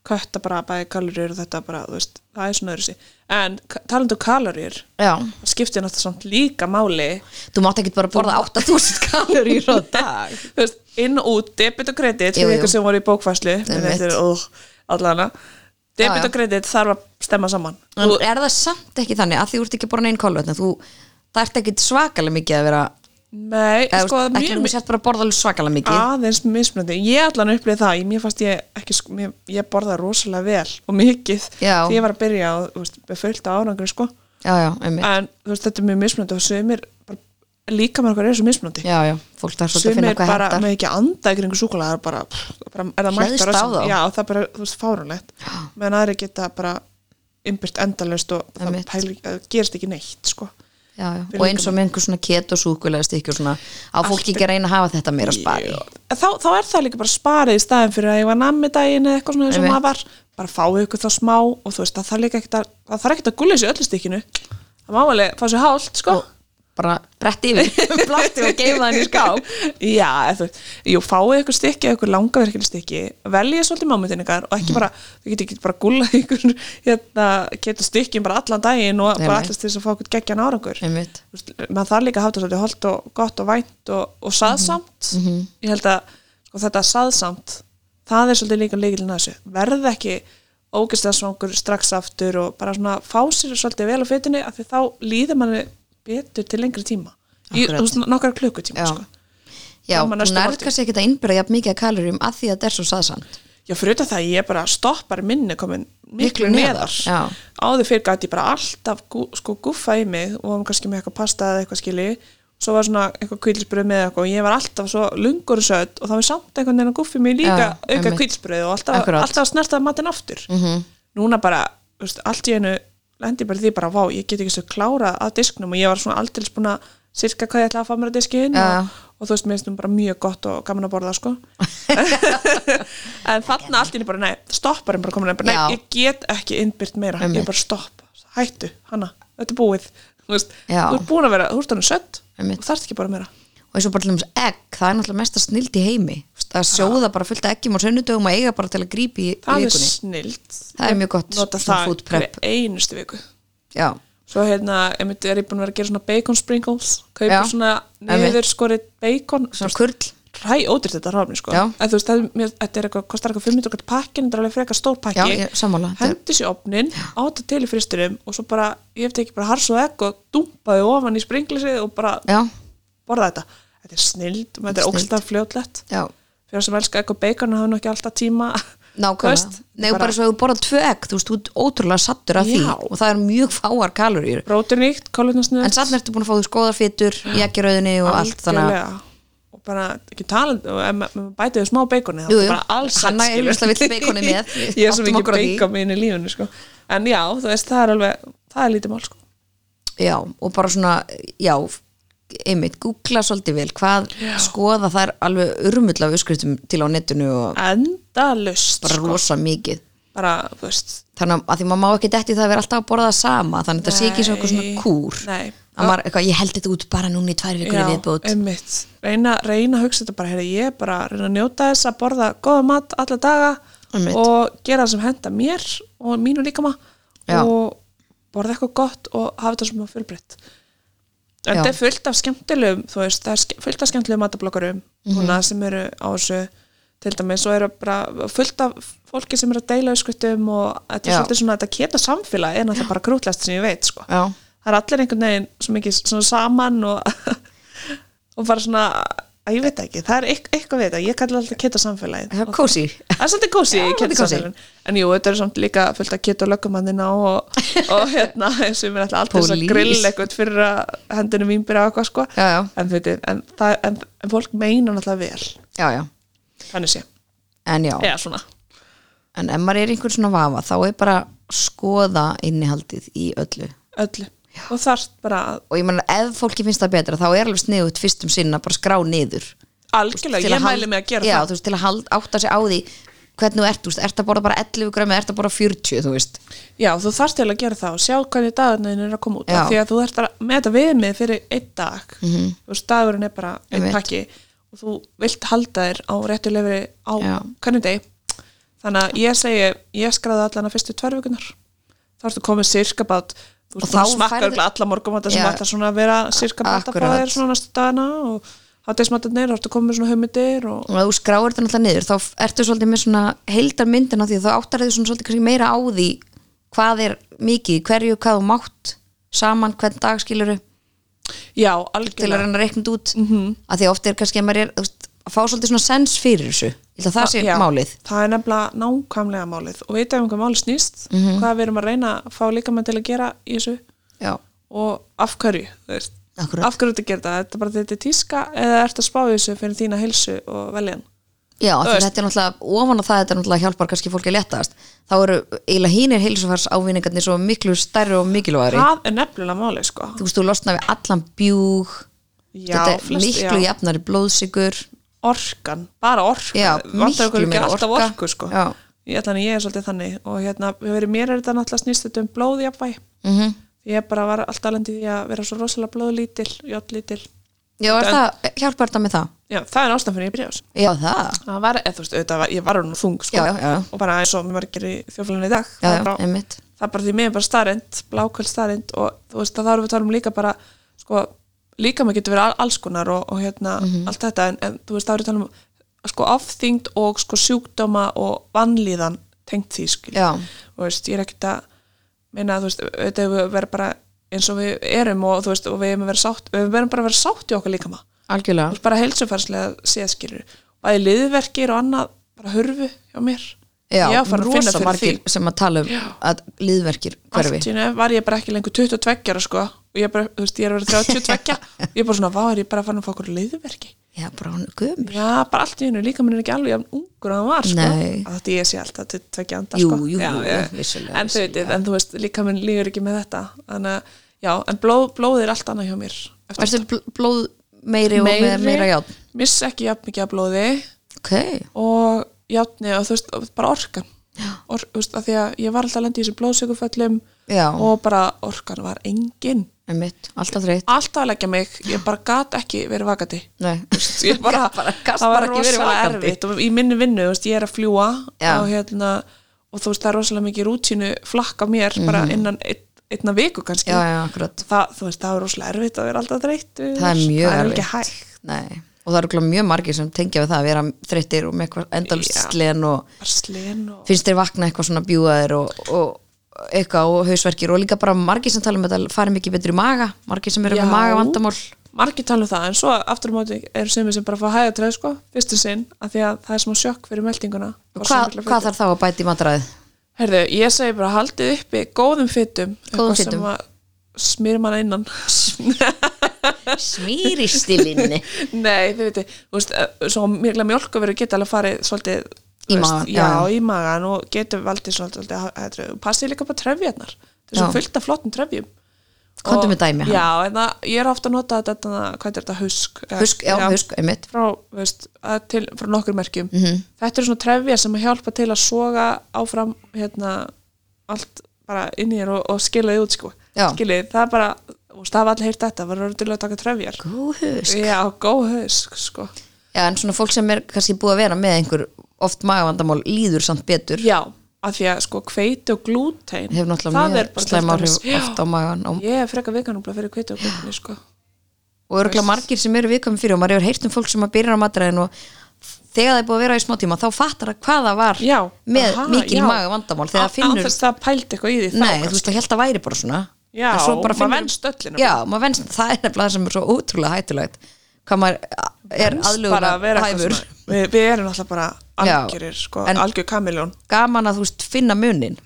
kötta bara bæði kaloríur og þetta bara, þú veist, það er svona öðru sig en k- talandi um kaloríur já, það skiptir náttúrulega samt líka máli þú mátt ekki bara borða 8000 kaloríur á dag Þú veist, inn og út, debit og kredit Jú, fyrir jú. ykkur sem voru í bókfæslu en Einmitt. þetta er uh, allana Já, debit já. og kredit þarf að stemma saman en er það samt ekki þannig að því þú ert ekki borðin einn kolvetna þú, það ert ekki svakalega mikið að vera Nei, sko, eða, sko, það er ekki mjög þú mi- Ah. sért bara að borða alveg svakalega mikið aðeins mismunandi, ég allan upplið það ég, mér fannst ég ekki, sko, mér, ég borða rosalega vel og mikið Já. því ég var að byrja á, þú veist, með fullt á árangur sko, já, já, einmitt en þú veist, þetta er mjög mismunandi og sumir, bara, líka með okkur er svo mismunandi já, já, fólk þarf svolítið að sem finna er hvað bara hendar með ekki anda ykkur einhver súkulega er bara, pff, bara er það mætt að Hleðst á rassin- þá. já, það er bara, þú veist, fárunlegt meðan aðri geta bara innbyrt endalaust og það Einmitt. pæli, það gerist ekki neitt sko. já, já. Við og eins og með einhver svona keto súkulega stykki og svona, á fólk ekki að reyna að hafa þetta meira spari Já. þá, þá er það líka bara sparið í staðin fyrir að ég var nammi daginn eða eitthvað svona eins og Einmitt. maður var bara fáið ykkur þá smá og þú veist, það þarf líka ekkert að það þarf ekkert að gulla sér öllu stikkinu það má alveg fá sér hálft, sko bara brett yfir, blasti og geima þannig ská já, eða þú veist, jú, fáið ykkur stykki eða ykkur langaverkileg stykki, veljið svolítið mámutin ykkar og Mhm. ekki bara, þú getur ekki bara gulla ykkur, hérna, getur stykkin bara allan daginn og bara Einmitt. allast til þess að fá ykkur geggjan árangur einmitt, Þú veist, maður þarf líka að hafa þetta svolítið holdt og gott og vænt og, og saðsamt Mhm, ég held að sko, þetta saðsamt það er svolítið líka líkilinn að þessu verð ekki ógæslega svangur strax aftur og bara svona fá sér svolítið vel á fytinni af því þá líður manni betur til lengri tíma í Akkurat. þú veist, nokkar klukkutíma Já. sko. já, Fram að hún næstu nærð máltíð. kannski ekki að innbyrja jafn mikið að kaloríum að því að þetta er svo saðsamt Já, fyrir auðvitað það ég bara stoppar minni komin miklu Miklu neðar. neðar, já. Áður fyrir gæti ég bara alltaf gú, sko guffa í mig og var kannski með eitthvað pasta eða eitthvað skili svo var svona eitthvað kvílsbröð með eitthvað og ég var alltaf svo lungur og sött og það var samt einhvern veginn að guffi mig líka Já, auka einmitt. Mhm. kvílsbröð og alltaf, Akkurát. alltaf að snerta matinn aftur. -hmm. Núna bara, þú veist, allt í einu lendi ég bara í því bara, vá, ég get ekki svo klárað af disknum og ég var svona aldrei búin að sirka hvað ég ætla að fá mér að diskinn Já. og, og þú veist, mér finnst hún bara mjög gott og gaman að borða, sko en þarna allt í einu bara, nei, stopparinn bara komin bara, Já. nei, ég get ekki innbyrt meira Einmitt. ég bara stopp, hættu, hana þetta er búið, þú veist Já. þú ert búin að vera, þú ert hann sött Einmitt. og þarft ekki bara meira og eins og bara til þess egg, það er náttúrulega mesta snild í heimi Þú veist, að sjóða bara fullt af eggjum á sunnudögum og eiga bara til að grípi í í það er vikunni snilt, það er mjög gott, nota svona það food prep hverja einustu viku já, svo hérna, einmitt er ég búin að vera að gera svona bacon sprinkles kaupa Já. svona Einmitt. niður skorið bacon svona kurl ræ ódýrt þetta ráfni sko Já. en þú veist, það, er mér, þetta er eitthvað, kostar eitthvað 500 kall pakkin, þetta er alveg frekar stór pakki Já, ég- sammála. Þetta er- hendi sér opnin, áta til í fristunum og svo bara, ég hef tekið bara hars og egg og dumpaði ofan í springlisið og bara já, borða þetta þetta er snild, þetta er Snilld. ógstlega fljótlegt já fyrir sem elska egg og bacon hafa nú ekki alltaf tíma Þú Nákvæmlega, veist, nei bara, bara svo að þú borðar tvö egg þú veist, þú ert ótrúlega sattur af því Já. og það er mjög fáar kaloríur prótiníkt, en kólutnarsnöð samt ertu búin að fá þú skoða fytur í eggjurauðinni og allt þannig að- og bara ekki tala og ef ma- ef maður bætið smá beikoni þá Jú, er jú. bara alls Hanna sett, er skilur. augljóslega vill beikonið með. ég er svo Áttum mikið okkur á því. beikon minn í lífunni sko. en já, þú veist, það er alveg það er lítið mál sko. já, og bara svona, já einmitt, googla svolítið vel hvað skoða það er alveg urmull af uskritum til á netinu og endalust bara sko. rosa mikið bara, þú veist þannig að- að því maður má ekki detti það að vera alltaf að borða það sama þannig að það sé ekki svona eitthvað svona kúr Nei. að maður, eitthvað, ég held þetta út bara núna í tvær vikur í viðbútt einmitt, reyna, reyna að hugsa þetta bara, heyrðu, ég er bara að reyna að njóta þess að borða góða mat alla daga Einmitt. og gera það sem henda mér og mínu líkama Já. og borða eitthvað gott og hafa þetta sem að fjölbreytt en Já. þetta er fullt af skemmtilegum þú veist, það er ske- fullt af skemmtilegum matablokkarum Mhm. núna sem eru á þessu til dæmis, svo eru bara fullt af fólki sem eru að deila öskutum og þetta er Já. svolítið svona, þetta keta samfélag er náttúrulega bara grútlast sem ég veit, sko Já. það er allir einhvern veginn svo mikið svona saman og, og bara svona að ég veit ekki, það er eitth- eitthvað við þetta ég kalli alltaf keta samfélagið það er kósi það er svolítið kósi í Já, svolítið keta kósí. samfélagin en jú, þetta er samt líka fullt að keta lögumannina og, og hérna, eins og ég mér alltaf alltaf þess að Police. grill eitthvað fyrir að hendinu mín byrja á eitthvað sko Já, já. En, fyrir, en, það, en, en fólk meina náttúrulega vel já, já, þannig sé, en já eða svona en ef maður er einhvern svona vafa þá er bara að skoða innihaldið í öllu öllu, og þarft bara að og ég meina ef fólki finnst það betra þá er alveg sniðut fyrst um sinna bara skrá niður algjörlega, ég mæli mig að gera já, það þú veist, til að hald, átta sig á því hvernig þú ert, þú veist, ert að borða bara 11 grömi ert að borða 40, þú veist Já, þú þarft til að gera það og sjá hvernig dagarnin er að koma út Já. Mhm. af því að þú þarft að meta viðmið fyrir einn dag -hmm. þú veist, dagurinn er bara einn Einmitt. pakki og þú vilt halda þér á réttu lefri á Já. hvernig deg þannig að ég segi, ég skraði allan að fyrstu tvær vikunar þá ertu komið sirkabát þú Og veist, þá þú smakkar færðu- færði... alla morgumata sem Já. ætlar svona að vera sirkabát að fá Akkurat. þér svona næstu dagana og hátismatarnir, þá ertu komið með svona hugmyndir og og ef þú skráir þetta náttúrulega niður þá f- ertu svolítið með svona heildar myndin á því þá áttar þau svona svolítið kannski meira á því hvað er mikið, í hverju, hvað þú mátt saman, hvern dag skilur já, til að algjörlega reyna að reikna þetta út mm Mhm. -hmm. að því að oft er kannski að maður er þú veist, að fá svolítið svona sens fyrir þessu ég held að það sé Já, málið það er nefnilega nákvæmlega málið og vita um hvað málið snýst Mhm. hvað við erum að reyna að fá líkamann til að gera í þessu já, og af hverju þú veist. Akkúrat. af hverju þetta gerir það, þetta er bara þetta er tíska eða ertu að spá í þessu fyrir þína hilsu og veljan já af því Þú veist. þetta er náttúrulega ofan á það þetta er náttúrulega hjálpar kannski fólki að léttast þá eru eiginlega hínir heilsufars ávinningarnir svo miklu stærri og mikilvægari það er nefnilega málið sko þú veist, þú losna við allan bjúg já, þetta er flest, miklu já, jafnari blóðsigur orkan, bara orka Já, vantar okkur miklu ekki meira alltaf orka. orku sko Já. ég, ætla að ég er svolítið þannig og hérna, fyrir mér er þetta náttúrulega snýst þetta um blóðjafvæg mm ég bara var alltaf lendi því að vera svo rosalega blóðlítil, játtlítil Já, er það, hjálpar þetta með það? já, það er ástæðan fyrir ég byrja á þessu Já, það. það var, eða þú veist, auðvitað, var- ég var nú þung sko, Já, já, já. og bara eins og margir í þjófélaginu í dag Já, það, já, er bara, einmitt. það er bara því mig er bara starrend blákvöld starrend og þú veist að þá erum við að tala um líka bara sko, líka maður getur verið al- alls konar og, og hérna, allt þetta en, en þú veist, þá erum við að tala um sko afþyngd og sko sjúkdóma og vanlíðan tengt því skil Já. og veist, ég er ekkert að meina, þú veist, þetta hefur verið bara eins og við erum og þú veist, og við hefum verið sátt við verðum bara að vera sátt í okkar líka maður Þú Algjörlega. veist, bara heilsufarslega séðskilur bæði liðverkir og annað bara hurfu hjá mér Já, ég var farin að finna rosa fyrir því margir sem að tala um að líðverkir hverfi. Allt í einu var ég bara ekki lengur 22 ára, sko og ég, bara, þú veist, ég er verið 32 og ég er bara svona, vá er ég bara farin að fá okkur liðverki Já, bara hún er gömur. já, bara allt í einu, líka minn er ekki alveg jafn ungur að hann var, sko Nei. að þetta ég sé alltaf 22 andar, Jú, sko jú, já, jú, ég- vissulega, en, þú veit, en þú veist, líka minn lífur ekki með þetta þannig að, já, en blóð, blóð er allt annað hjá mér eftir Erstu bl- blóð meiri og meira, meira játn? miss ekki jafn mikið af blóði Ok. og játni og þú veist, og bara orkan Or, þú veist, að því að ég var alltaf að lenda í þessu blóðsökuföllum Já. og bara orkan var engin Einmitt, alltaf þreitt. alltaf að leggja mig, ég bara gat ekki verið vakandi Nei. ég bara, gast það var bara ekki verið rosalega vakandi. erfitt og í minni vinnu, þú veist, ég er að fljúa Já. og, hérna, og þú veist, það er rosalega mikið rútínu flakka mér bara innan ein, einna viku kannski Mhm. Já, já, akkurat. það, þú veist, það er rosalega erfitt að vera alltaf þreyttur Það er mjög það er erfitt. ekki hægt Nei. Og það eru örugglega mjög margir sem tengja við það að vera þreyttir og með eitthvað endalslen og bara slin og finnst þeir vakna eitthvað svona bjúaðir og, og eitthvað og hausverkir og líka bara margir sem tala um þetta fari mikið betur í maga, margir sem eru Já. með magavandamál margir tala um það, en svo aftur á móti eru sumir sem bara fá hæða treð sko, fyrstu sinn af því að það er smá sjokk fyrir meldinguna Hva, hvað þarf þá að bæta í matræðið? Herðu, ég segi bara haldið uppi góðum fytum Góðum eitthvað fitum. sem að smýr mann innan Smýristilinni Nei, þið veitir, þú veist, eh, svo mikla mjölku verið geta alveg farið svolítið Í þú veist, magann, já, já. í magan og getur valdið svolítið, eh, svolítið hæ- hætru. passið líka bara trefjarnar, Já. þessum fullt af flottum trefjum Komdu Og- með dæmi, ha? Já, en það, ég er ofta að nota þetta, hvað er þetta, husk eh, Husk, já, husk, einmitt Mhm. frá, veist, að til, frá nokkur merkjum -hmm. þetta eru svona trefja sem að hjálpa til að soga áfram hérna, allt bara inn í þér og, og skila þið út sko Já. skilið, það er bara, og það var allir heyrt þetta var röðurlega að taka trefjar Góð husk já, góð hausk sko Já, en svona fólk sem er kannski búið að vera með einhver oft magavandamál líður samt betur já, af því að sko hveiti og glútein hefur náttúrulega mjög slæm áhrif já, oft á magan og, ég er frekar vikanúbla fyrir hveiti og glútein sko. og örgulega margir sem eru viðkvæmi fyrir og maður hefur heyrt um fólk sem að byrja á matræðin og þegar það er búið að vera í smá tíma þá fattar það hvað það var já, með aha, mikil já. magavandamál þegar Á- það finnur án þess að það pælt eitthvað í því þá Nei, kannski. þú veist, það held að væri bara svona Já, En svo bara maður finnur- venst öllu nefnilega. Já, maður venst, það er nefnilega það sem er svo ótrúlega hættulegt hvað maður bara er að aðlugunar vera hæfur eitthvað svona- við, við erum alltaf bara Já, algjörir sko, en- algjör kamiljón gaman að þú veist finna munin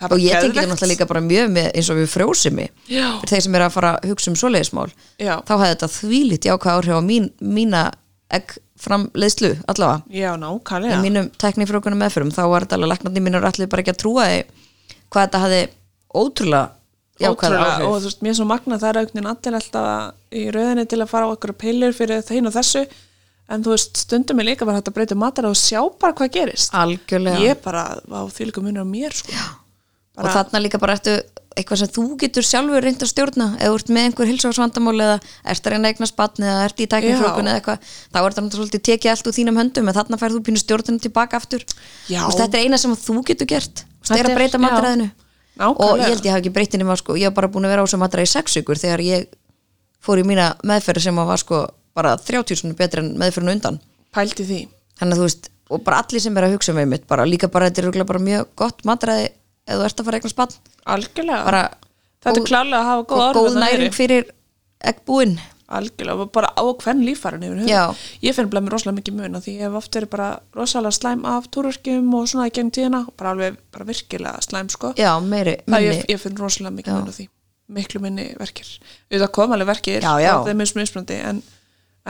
Það er og ég bara tengi það geðveikt. náttúrulega líka bara mjög með eins og við frjósimi Já. fyrir þeir sem eru að fara að hugsa um svoleiðismál Já. þá hefði þetta þvílít jákvæð áhrif á mín, mína egg framleiðslu allavega já, nákvæmlega í mínum teknifrókunum meðfyrum þá var þetta alveg læknandi mínur allir bara ekki að trúa því hvað þetta hafði ótrúlega jákvæð Ótrúlega, áhrif og þú veist, mér er svo magna það er auknin allir alltaf í rauðinni til að fara á okkur pillur fyrir þeim og þessu en þú veist, stundum er líka bara hægt að breyta matar og sjá bara hvað gerist algjörlega ég bara á þvílíku munur á mér sko. og þarna líka bara ertu eitthvað sem þú getur sjálfur reynd að stjórna eða þú ert með einhver hilsóksvandamál eða ert að reyna að eignast batni eða ert í tæknifrókun Já. eða eitthvað, þá er þetta náttúrulega svolítið tekið allt úr þínum höndum en þarna færðu pínu stjórnina tilbaka aftur Já. og þetta er eina sem þú getur gert og þetta er Þetta að er- breyta matræðinu já. Nákvæmlega. og ég held ég hafi ekki breytin nema sko, ég hef bara búin að vera á þessu matræði í sex ykkur þegar ég fór í mína meðferð sem að var sko bara 30 sinni betri en meðferðinu undan pældi því þannig að þú veist, og bara allir sem er að hugsa með mitt bara líka bara þetta er örugglega bara mjög gott matræði ef þú ert að fara að eignast batn algjörlega, bara þetta góð- er klálega að hafa góð og orð góð þarna næring niðri. fyrir eggbúin algjörlega, og bara á hvern lífærin yfir höfuð. Já. ég finn bara mér rosalega mikið mun af því ég hef oft verið bara rosalega slæm af túrverkjum og svona í gegn tíðina bara alveg bara virkilega slæm sko já, meiri, það minni ég, ég finn rosalega mikið mun á því miklu minni verkir það kom alveg verkir, Já, já. og það er mjög smjöspandi en,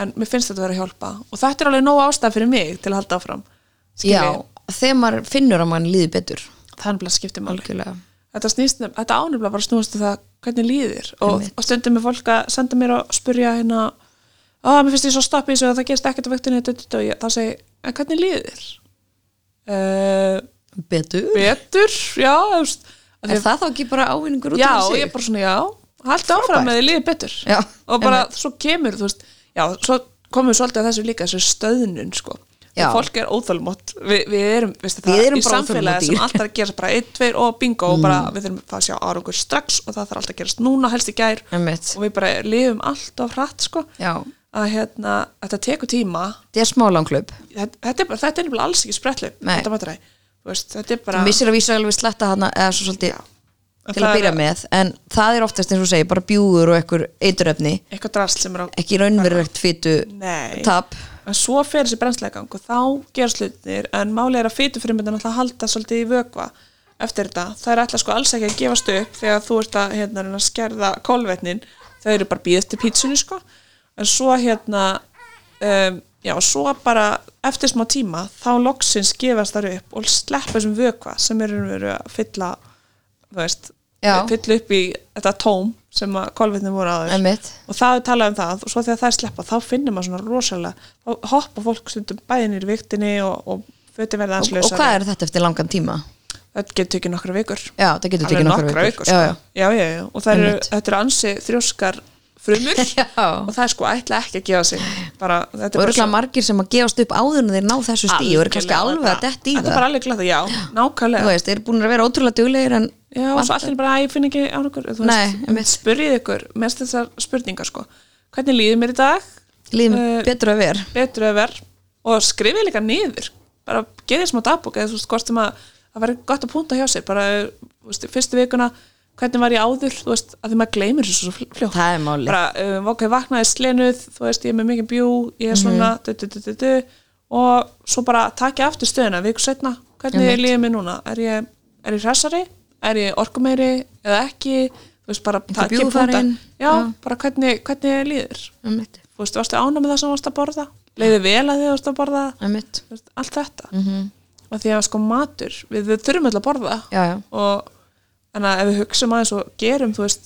en mér finnst þetta vera að hjálpa og þetta er alveg nóg ástæð fyrir mig til að halda áfram skilji. já, þegar maður finnur að maður líði betur það er nefnilega skiptir máli algjörlega þetta, snýst, þetta ánefnilega bara snúast um það hvernig líðir og, og stundum með fólk að senda mér og spurja hérna að mér finnst ég svo stopp í þessu og það gerst ekkert á vektinni og ég, það segi, en hvernig líðir? Uh, betur, betur, já þú veist, af því er það þá ekki bara ávinningur út já, af og sig ég bara svona, já halda áfram með því líður betur Já, og bara svo kemur, þú veist já, svo komum við svolítið að þessu líka þessu stöðnun, sko Já. Og fólk er óþálmótt, Vi, við erum veistu, það, Við erum í bara Mm. óþolinmóð samfélagi dýr. sem alltaf er að gera bara einn, tveir og bingo og bara við þurfum að sjá árangur strax og það þarf alltaf að gerast núna, helst í gær Einmitt. og við bara lifum allt of hratt sko, já, að hérna, þetta tekur tíma þetta er smálangklöp þetta, þetta er bara, þetta er nefnilega alls ekki spretlu Nei. þetta mataræði, þú veist, þetta er bara þú missir að vísa alveg sletta hana eða svo svolítið til Það að er- byrja með en það er oftast eins og þú segir bara bjúgur og ekkur eituröfni eitthvað drast sem er á ekki raunverulegt fytu Nei. tap en svo fer þessi brennslegang og þá gerast hlutinir en málið er að fytufrumundin alltaf halda svolítið í vökva eftir þetta, það er alltaf sko alls ekki að gefast upp þegar þú ert að, hérna, reyna að skerða kólvetnin, þau eru bara býð eftir pítsunni sko, en svo hérna um, já, svo bara eftir smá tíma, þá loksins gefast þar upp og sleppa þessum vökva sem eru verið að fylla þú veist, Já. fylla upp í þetta tóm sem að kólvetnin voru aður Einmitt. og það er talað um það og svo þegar það er sleppa þá finnir maður svona rosalega þá hoppa fólk stundum bæðinir í viktinni og, og föti verða og, aðeins og lausari hvað er þetta eftir langan tíma? þetta getur tekið nokkra vikur Já, það getur Alveg tekið nokkra vikur, sko. Já, já, já. já. Já, já, og það eru, Einmitt. þetta eru ansi þrjóskar frumur Já. og það er sko ætla ekki að gefa sig bara, þetta og er bara örgulega margir sem að gefast upp áður en þeir ná þessu stíu og eru kannski alveg að detti í þetta er það bara alveg glæða, já, nákvæmlega þú veist, þeir eru búin að vera ótrúlega duglegir en Já, og svo allir bara, að ég finn ekki án okkur þú Nei, veist, einmitt. spyrjið ykkur, mest þessar spurningar sko hvernig líður mér í dag líðum Eh, betur að vera betur að vera og skrifið líka niður bara geðið smá dagbúk eða þú veist hvort sem að það væri gott að púnta hjá sér bara þú veist, fyrstu vikuna hvernig var ég áður, þú veist, að því maður gleymir þessu svo fl- fljótt Það er málið. bara, um, ok, vaknaði slenuð, þú veist, ég er með mikið bjú ég er Mhm. svona, du, du, du, du, du og svo bara takja aftur stöðuna viku setna, hvernig er lífið mér núna er ég, er ég hressari, er ég orkumeiri eða ekki, þú veist, bara Einhver takja bjú punkta. farin? já, bara hvernig, hvernig líður Einmitt, þú veist, varstu ána með það sem þú varst að borða leiði vel að þið varst að borða einmitt. Þú veist, allt þetta mm -hmm. og því að sko matur, við, við þurfum alltaf að borða Já, já. og en að ef við hugsum aðeins og gerum, þú veist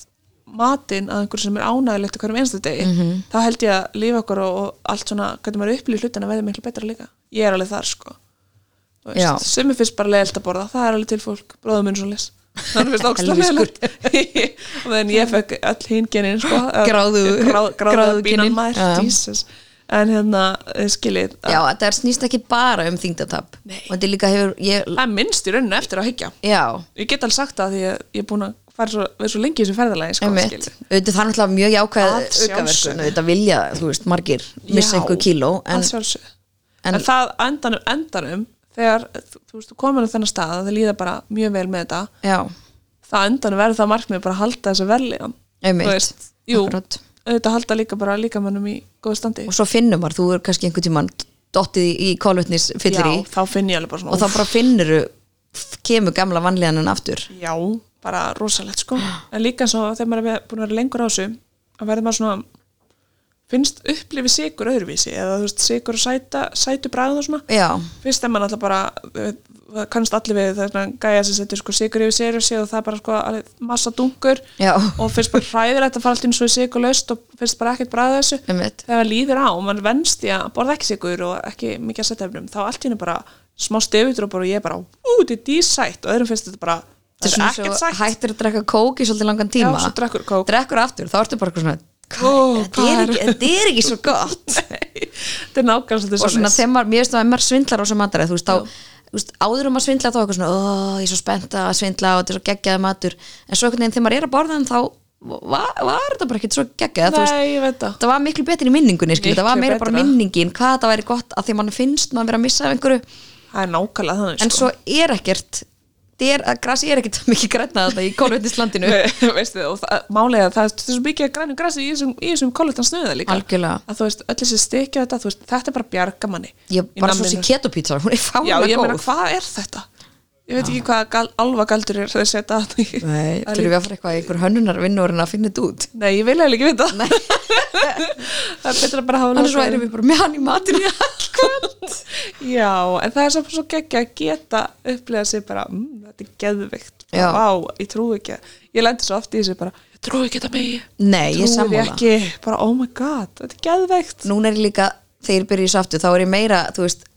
matinn að einhverju sem er ánægilegt á hverjum einstu degi, Mhm. þá held ég að lífa okkur og, og allt svona, hvernig maður upplýð hlutina verði miklu betra líka, ég er alveg þar sko Þú Já. veist, sumi finnst bara leiðilt að borða, það er alveg til fólk bróðum minn svo les þannig finnst ókslega sko. leiðilegt en ég fekk öll hinn genin sko, að- Gráðu- gráð, gráðu gráðu bínan kynin. Já. maður, Jesus en hérna, eh, skiljið já, þetta er snýst ekki bara um þingdatab Nei. og þetta er líka hefur ég, það er minnst í rauninu eftir að hyggja já, ég get alveg sagt það því að ég er búin að fara svo, vera svo lengi í þessu ferðalagi sko, einmitt skilurðu. auðvitað það er náttúrulega mjög jákvæð Að aukaverkun sjálfsögðu. auðvitað vilja, þú veist, margir missa Já, einhver kíló að en, sjálfsögðu. en- en, það endanum, endanum þegar þú, þú veist, þú komin á þennan stað að það líða bara mjög vel með þetta um já, það endanum verður það markmið bara að halda þessu verðlega Einmitt. þú veist, jú, Akkurat. auðvitað halda líka bara líkamannum í góðu standi og svo finnum maður, þú er kannski einhvern tímann dottið í, í kólvetnis fyllir í Já, þá finn ég alveg bara svona og þá bara finnur kemur gamla vanlíðanin aftur Já, bara rosalegt sko en líka svo þegar maður er búin að vera lengur á þessu að verður maður svona finnst upplifið sigur öðruvísi eða þú veist sigur og sæta, sætu bræðum og svona já, fyrst er maður alltaf bara eh, það kannast allir við þarna gæja sem setur sko sigur yfir sér og sér og það er bara sko alveg massa dungur já, og finnst bara hræðilegt að fara allt inn svo í sigur löst og finnst bara ekkert bræða þessu einmitt þegar maður líður á og maður venst í að borða ekki sigur og ekki mikið að setja efnum þá allt í henni bara smá stefutrópar og ég bara ú, þetta er dísætt og öðrum finnst þetta bara þetta er Þetta er ekkert svona sætt svo hættir að drekka kók í svolítið langan tíma Já, svo drekkur kók. Drekkur aftur, þá ertu bara eitthvað svona Ó, þetta er, ekki, þetta er ekki svo gott þetta er nákvæmst þetta er og svona svoleiðis. þegar maður, mér veist að maður svindlar á sem mataræð þú veist, þá, þú veist, áður um að svindla þá er eitthvað svona, ó, ég er svo spennt að svindla og þetta er svo geggjaði matur, en svo einhvern veginn þegar maður er að borða en þá var, var þetta bara ekkert svo geggjað, þú veist, Nei, ég veit það það var miklu betur í minningunni, skil, Miklu það var meira bara betra. minningin, hvað þetta væri gott að því mann finnst maður vera að missa af einhverju, Það er nákvæmlega þannig sko. en svo er ekkert það er, að grasi er ekkert mikið grænna þetta í kólvetnislandinu, sko. Veistu, og það, málega það er svo mikið að grænu grasi í þessum, í þessum kollutan snuða líka algjörlega að þú veist, öll þessi stikja þetta þú veist, þetta er bara bjarga manni ég Í bara namminu. svo sé ketopizza, hún er Já, fálega ég meina, góð hvað er þetta? Ég veit ekki hvað gal, alva galdur er þessi þetta þarna í- Nei, Það er þurfum við að fara eitthvað í einhver hönnunarvinnu og reyna að finna þetta út Nei, ég vil eiginlega ekki vita Það er betra að bara hafa annars lokað. væri við bara með hann í matur í all kvöld Já, en það er samt svo geggja að geta upplega sig bara, mmm, þetta er geðvikt Já. Vá, ég trúi ekki að- Ég lendi svo oft í þessu bara, ég trúi ekki þetta mig Nei, Trúi ég því sammála. ekki, bara oh my god, þetta er geðveikt núna er ég líka, þegar ég byrja í saftu þá er ég meira, þú veist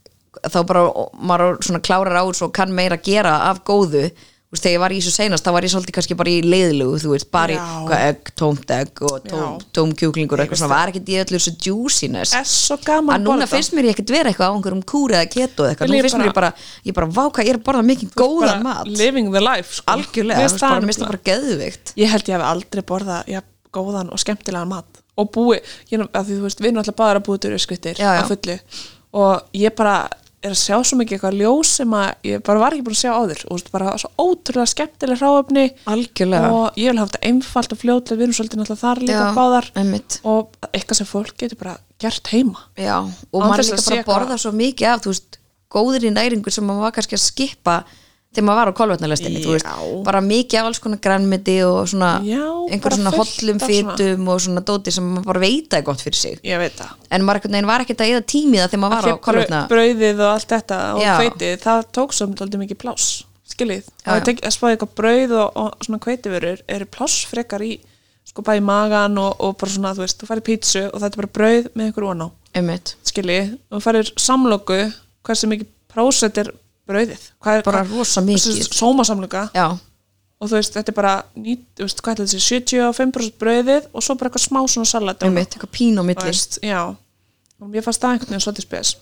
þá bara, maður á svona klárar á þessu og kann meira gera af góðu þú veist, þegar ég var í þessu seinast, þá var ég svolítið kannski bara í leiðlugu, þú veist, bara í Já. hvað, egg, tómt egg og tóm, Já. tóm kjúklingur og eitthvað svona, var ekkert í öllu þessu juiciness Er svo gaman að núna finnst mér ég ekkert vera eitthvað á einhverjum kúri eða keto eða eitthvað, Vilja nú finnst mér ég bara ég bara, vá hvað, ég er að borða mikið bara góðan mat Living the life, sko algjörlega, Mér þú finnst veist, bara, það mér finnst það bara geðvikt ég held ég hef aldrei borðað já, góðan og skemmtilegan mat og búi, ég, að því þú veist, við erum alltaf báðar að búið dörurskvittir Já, já. á fullu og ég bara er að sjá svo mikið eitthvað ljós sem að ég bara var ekki búin að sjá áður og þú veist, bara svo ótrúlega skemmtileg hráöfni algjörlega, og ég vil hafa þetta einfalt og fljótlega, við erum svolítið náttúrulega þar líka Já, báðar einmitt. og eitthvað sem fólk getur bara gert heima já, og Án maður þess að líka bara sé að borða svo mikið af, þú veist, góðir í næringur sem maður var kannski að skipa þegar maður var á kolvetnalestinni, þú veist, Já. bara mikið af alls konar grænmeti og svona Já, bara einhver svona fullt hollum af svona. fytum og svona dóti sem maður bara veita er gott fyrir sig ég veit það en maður einhvern veginn var ekkert að eða tímið þegar maður var á Brau- kolvetna brauðið og allt þetta og Já. hveitið, það tók svo mjög mikið pláss skiljið, já. það tek, að spáði eitthvað brauð og, og svona hveitiverur eru pláss frekar í, sko bæði í magan og, og bara svona, þú veist, þú færir pítsu og þetta er bara brauð með einhver oná, einmitt, skiljið og þú færir samloku, hversu mikið prósett er brauðið, hvað er Bara hvað- rosa mikið. þessi sómasamloka já og þú veist, þetta er bara ný, þú veist, hvað er þessi, 75% brauðið og svo bara eitthvað smá svona salat og, einmitt, eitthvað pín á þú milli veist, já, og mér fannst það einhvern veginn svolítið spes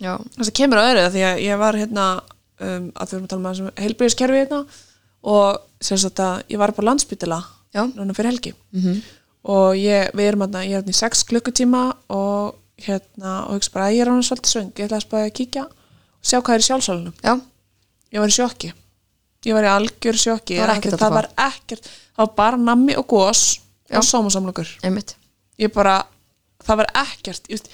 já, þess að kemur að öðru því að ég var hérna um, að þau erum að tala með þessum heilbyrðiskerfi hérna og sem sagt að ég var upp á landsbytila Já. Mhm. núna fyrir helgi -hmm. og ég, við erum hérna, ég er hérna í 6 klukkutíma og hérna og hugsa bara að ég er hann svolítið svöng, ég ætla að spæða að kíkja og sjá hvað er í sjálfsálunum já, ég var í sjokki, ég var í algjör sjokki Það var af því ekkert að það fá. var ekkert, það var bara nammi og gos Já. og sómasamlokur einmitt ég bara, það var ekkert ég veist,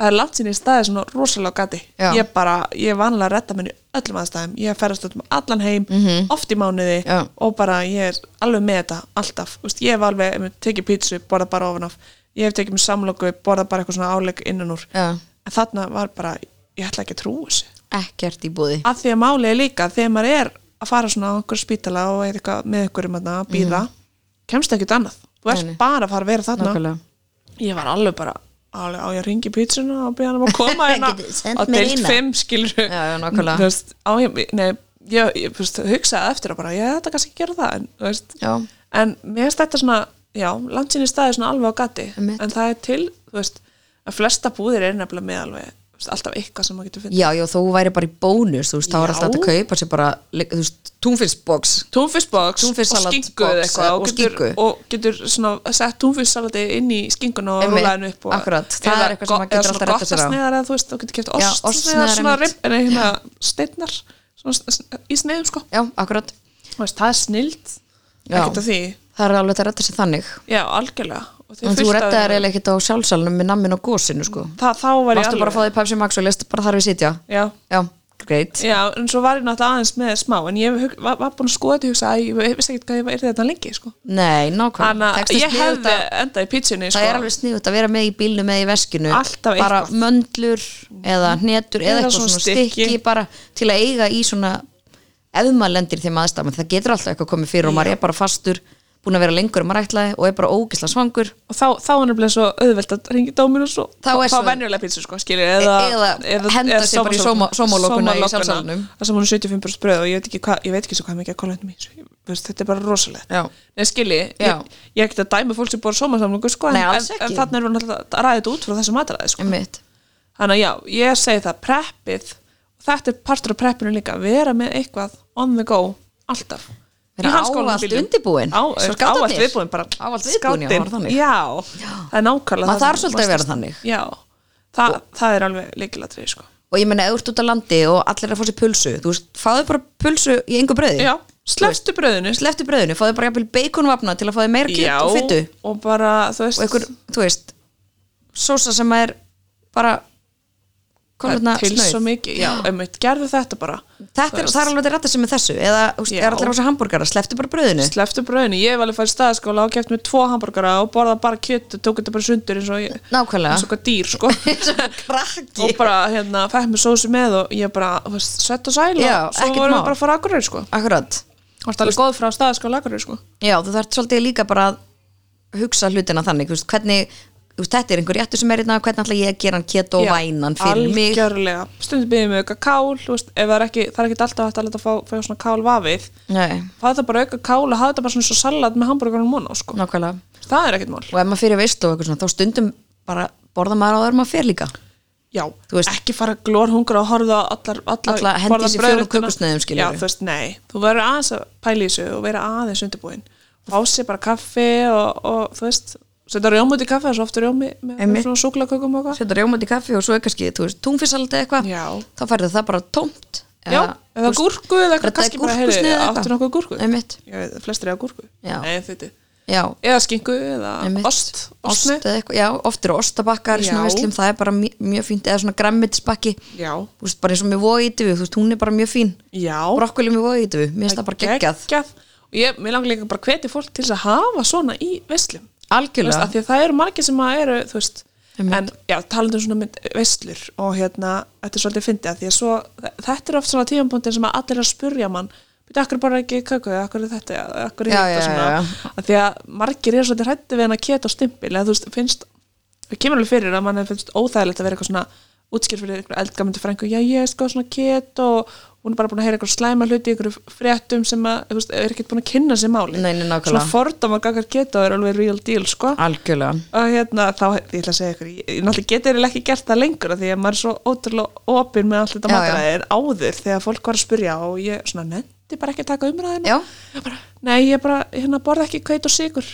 það er langt sinni í staði svona rosalega á gati, Já. ég bara ég er vanlega að retta minni öllum aðstæðum ég ferðast út um allan heim, oft í mánuði Mhm. Já. og bara ég er alveg með þetta alltaf, Þú veist, ég hef alveg einmitt tekið pítsu, borða bara ofan af ég hef tekið mér samloku, borða bara eitthvað svona áleik innan úr, já. en þarna var bara ég ætla ekki að trúa þessu ekkert í búði að því að málið er líka þegar maður er að fara svona á einhver spítala og er eitthvað með ykkur um að býða kemst ekkert annað, þú ert Mhm. Nei, nei. bara að fara að vera þarna nákvæmlega ég var alveg bara alveg, á ég að ringi pítsuna og byrja hann um að koma hérna Getið sent á mér deilt eina? 5 skilur Já, já, nákvæmlega. veist, á ég, nei, ég, ég þú veist, hugsaði eftir að bara, ég þetta kannski ekki gera það en, þú veist, Já. en mér finnst þetta svona já, landsinni staði svona alveg á gati Einmitt. en það er til, þú veist að flesta búðir er nefnilega með alveg þú veist, alltaf eitthvað sem maður getur fundið Já, já, þú væri bara í bónus, þú veist, þá er Já. alltaf hægt að kaupa sér bara, þú veist, túnfiskboks túnfiskbox og Túnfisksalat skingu box, eh, eða eitthvað og, og getur, skingu. og getur svona sett túnfisksalati inn í skinguna og Einmitt, rúla henni upp og, akkurat, það eða er eitthvað sem go- maður getur eða alltaf rettað sér á. svona gottasneiðar eða þú veist, þú getur kæft Já, ostsneiðar ostsneiðar, svona einmitt. rip, en hérna steinnar svona s- s- í sneiðum sko Já, akkurat Þú veist, það er snild Já. ekkert af því, það er alveg að redda sér þannig já, algjörlega og þau en þú fullt af- reddaðir eiginlega ekkit á sjálfsalunum með nammin og gósinu sko það, þá var ég varstu bara að fá því Pepsi Max og lest bara þar við sitja já, já, greit já, en svo var ég náttúrulega aðeins með smá en ég hug- var, var búin að skoða til hugsa að ég ég vissi ekkert hvað ég var þetta lengi sko. nei, nákvæmlega þannig Tekst að að ég sniðugt hefði að- endað í pítsunni það er sko. alveg sniðut að vera með í bílnum eða í veskinu Alltaf bara eitthvað. Mhm. möndlur eða hnetur eða Eða eitthvað svona svona stykki. stykki. bara til að eiga í svona ef maður lendir í þeim aðstæðum það getur alltaf eitthvað komið fyrir og maður er bara fastur búin að vera lengur um að rætlaði og er bara ógisla svangur og þá, þá er nefnilega svo auðvelt að ringi dóminu og svo Þá er fá svo- E- venjulega pítsu sko, skilur, eða, eða henda sér bara í sóma- sómalokuna í sjálfsalnum. það sem hún er 75 bröð og ég veit ekki, hva, ég veit ekki svo hvað mikið að kolla henni mér þetta er bara rosalegt Já. Nei, skilji, Já. ég, ég er ekkert að dæma fólk sem bor sómasamlingu sko, Nei, en, alls en, ekki. en þannig erum við náttúrulega að ræða þetta út frá þessu mataræði sko. Einmitt. þannig að já, ég segi það preppið, og þetta er partur af preppinu líka, vera með eitthvað on the go, alltaf Vera Í handskólanum ávallt bílnum. undirbúin. á, eh, Svo skátarnir. ávallt viðbúin bara Ávallt viðbúin, já, skátinn. var þannig. já, það er nákvæmlega Maður það þarf sem svolítið að þú vera varst þannig. já, það, það er alveg líkilatrið sko. og ég meina, ef þú ert út á landi og allir er að fá sér pulsu þú veist, fáðu bara pulsu í engu bröði já, sleftu bröðinu sleftu bröðinu, fáðu bara jafnvel beikonvapna til að fáðu meira kjöt já, og fytu og bara, þú veist og einhver, þú veist sósa sem er bara það kolvetna er til svo snauð mikið, já, einmitt, gerðu þetta bara Þetta er, það er alveg til rætta sem er þessu eða þú veist, Já. er allir á þessu hambúrgara, sleftu bara bröðinu sleftu bröðinu, ég hef alveg farið í staðaskóla og keft með tvo hambúrgara og borða bara kjöt og tók þetta bara sundur eins og ég Nákvæmlega. eins og hvað dýr, sko og krakki bara, hérna, fætt með sósu með og ég bara, þú veist, sett og sæl Já, og svo ekkert vorum mál. við bara að fara akkurir, sko Akkurat, Það er alveg góð frá staðaskóla akkurir, sko já þú þarft svolítið líka bara að hugsa hlutina þannig þú veist, hvernig, þú veist, þetta er einhver réttu sem er hérna hvernig ætla ég að gera hann keto og Já, vænan fyrir mig algjörlega, stundum byggjum við auka kál þú veist, ef það er ekki, það er ekki alltaf hægt að leta fá, fá svona kál vafið Nei, það er bara auka kál og hafa þetta bara svona svo salat með hambúrgarnum mónu sko. nákvæmlega það er ekkert mál og ef maður fyrir veist og eitthvað svona, þá stundum bara borða maður á þeirra maður fyrir líka já, Þú veist- ekki fara glór hungra og horfa á allar, allar, Alla hendi borða í sig fjórum brauðréttina. kökusneiðum, skilurðu. já, þú veist, nei, þú verður aðeins að pæla í þessu og vera aðeins undirbúin fá sér bara kaffi og, og þú veist setja rjóma út í kaffi, það er svo ofta rjómi með Einmitt. svona súklakökum og eitthvað setja rjómat í kaffi og svo er kannski, þú veist, túnfisaldi eða eitthvað Já. þá færðu það bara tómt já, eða þú veist, gúrku eða reddaði eitthvað, kannski bara heyri, gúrkusneið eða áttu nokkuð gúrku Einmitt. Ég veit, flestir eiga gúrku Já. Nei, þetta já, eða skinku eða einmitt. ost, ost ostni eða eitthvað, já, oft eru ostabakkar í svona Já. veslum, það er bara mj- mjög fínt eða svona grammitisbakki, já, þú veist, bara eins og með vóiðu, þú veist, hún er bara mjög fín já, brokkoli með vóiðu, mér finnst það bara geggjað geggjað. og ég, mér langar líka bara hveti fólk til þess að hafa svona í veslum Þú veist, algjörlega, af því að það eru margir sem að eru þú veist, Einmitt. en já, talandi um svona mynd, veslur og hérna, þetta er svolítið fyndið af því að svo, þetta er oft svona tímapunktin sem að allir er að spurja mann Býtu, akkur bara ekki köku, akkur er þetta, akkur er Já, þetta já, svona. já, Af Því að margir er svolítið hrætti við hann að keta og stimpil, eða þú veist, finnst, það kemur alveg fyrir að mann finnst óþægilegt að vera eitthvað svona útskýr fyrir einhver eldgamandi frængu, já ég er sko svona ket og hún er bara búin að heyra eitthvað slæma hluti, eitthvað fréttum sem að, þú veist, er ekkert búin að kynna sér máli. Nei, nei, Svona nákvæmlega. fordómar gaggar geta er alveg real deal, sko Ah. algjörlega og hérna þá, ég ætla að segja ykkur ég, ég náttúrulega getur eiginlega ekki gert það lengur af því að maður er svo ótrúlega opinn með allt þetta Já, já. mataræði en áður þegar fólk var að spurja og ég svona nefndi bara ekki að taka umræðina Já. Ég bara, nei ég bara, hérna borða ekki kveit og sigur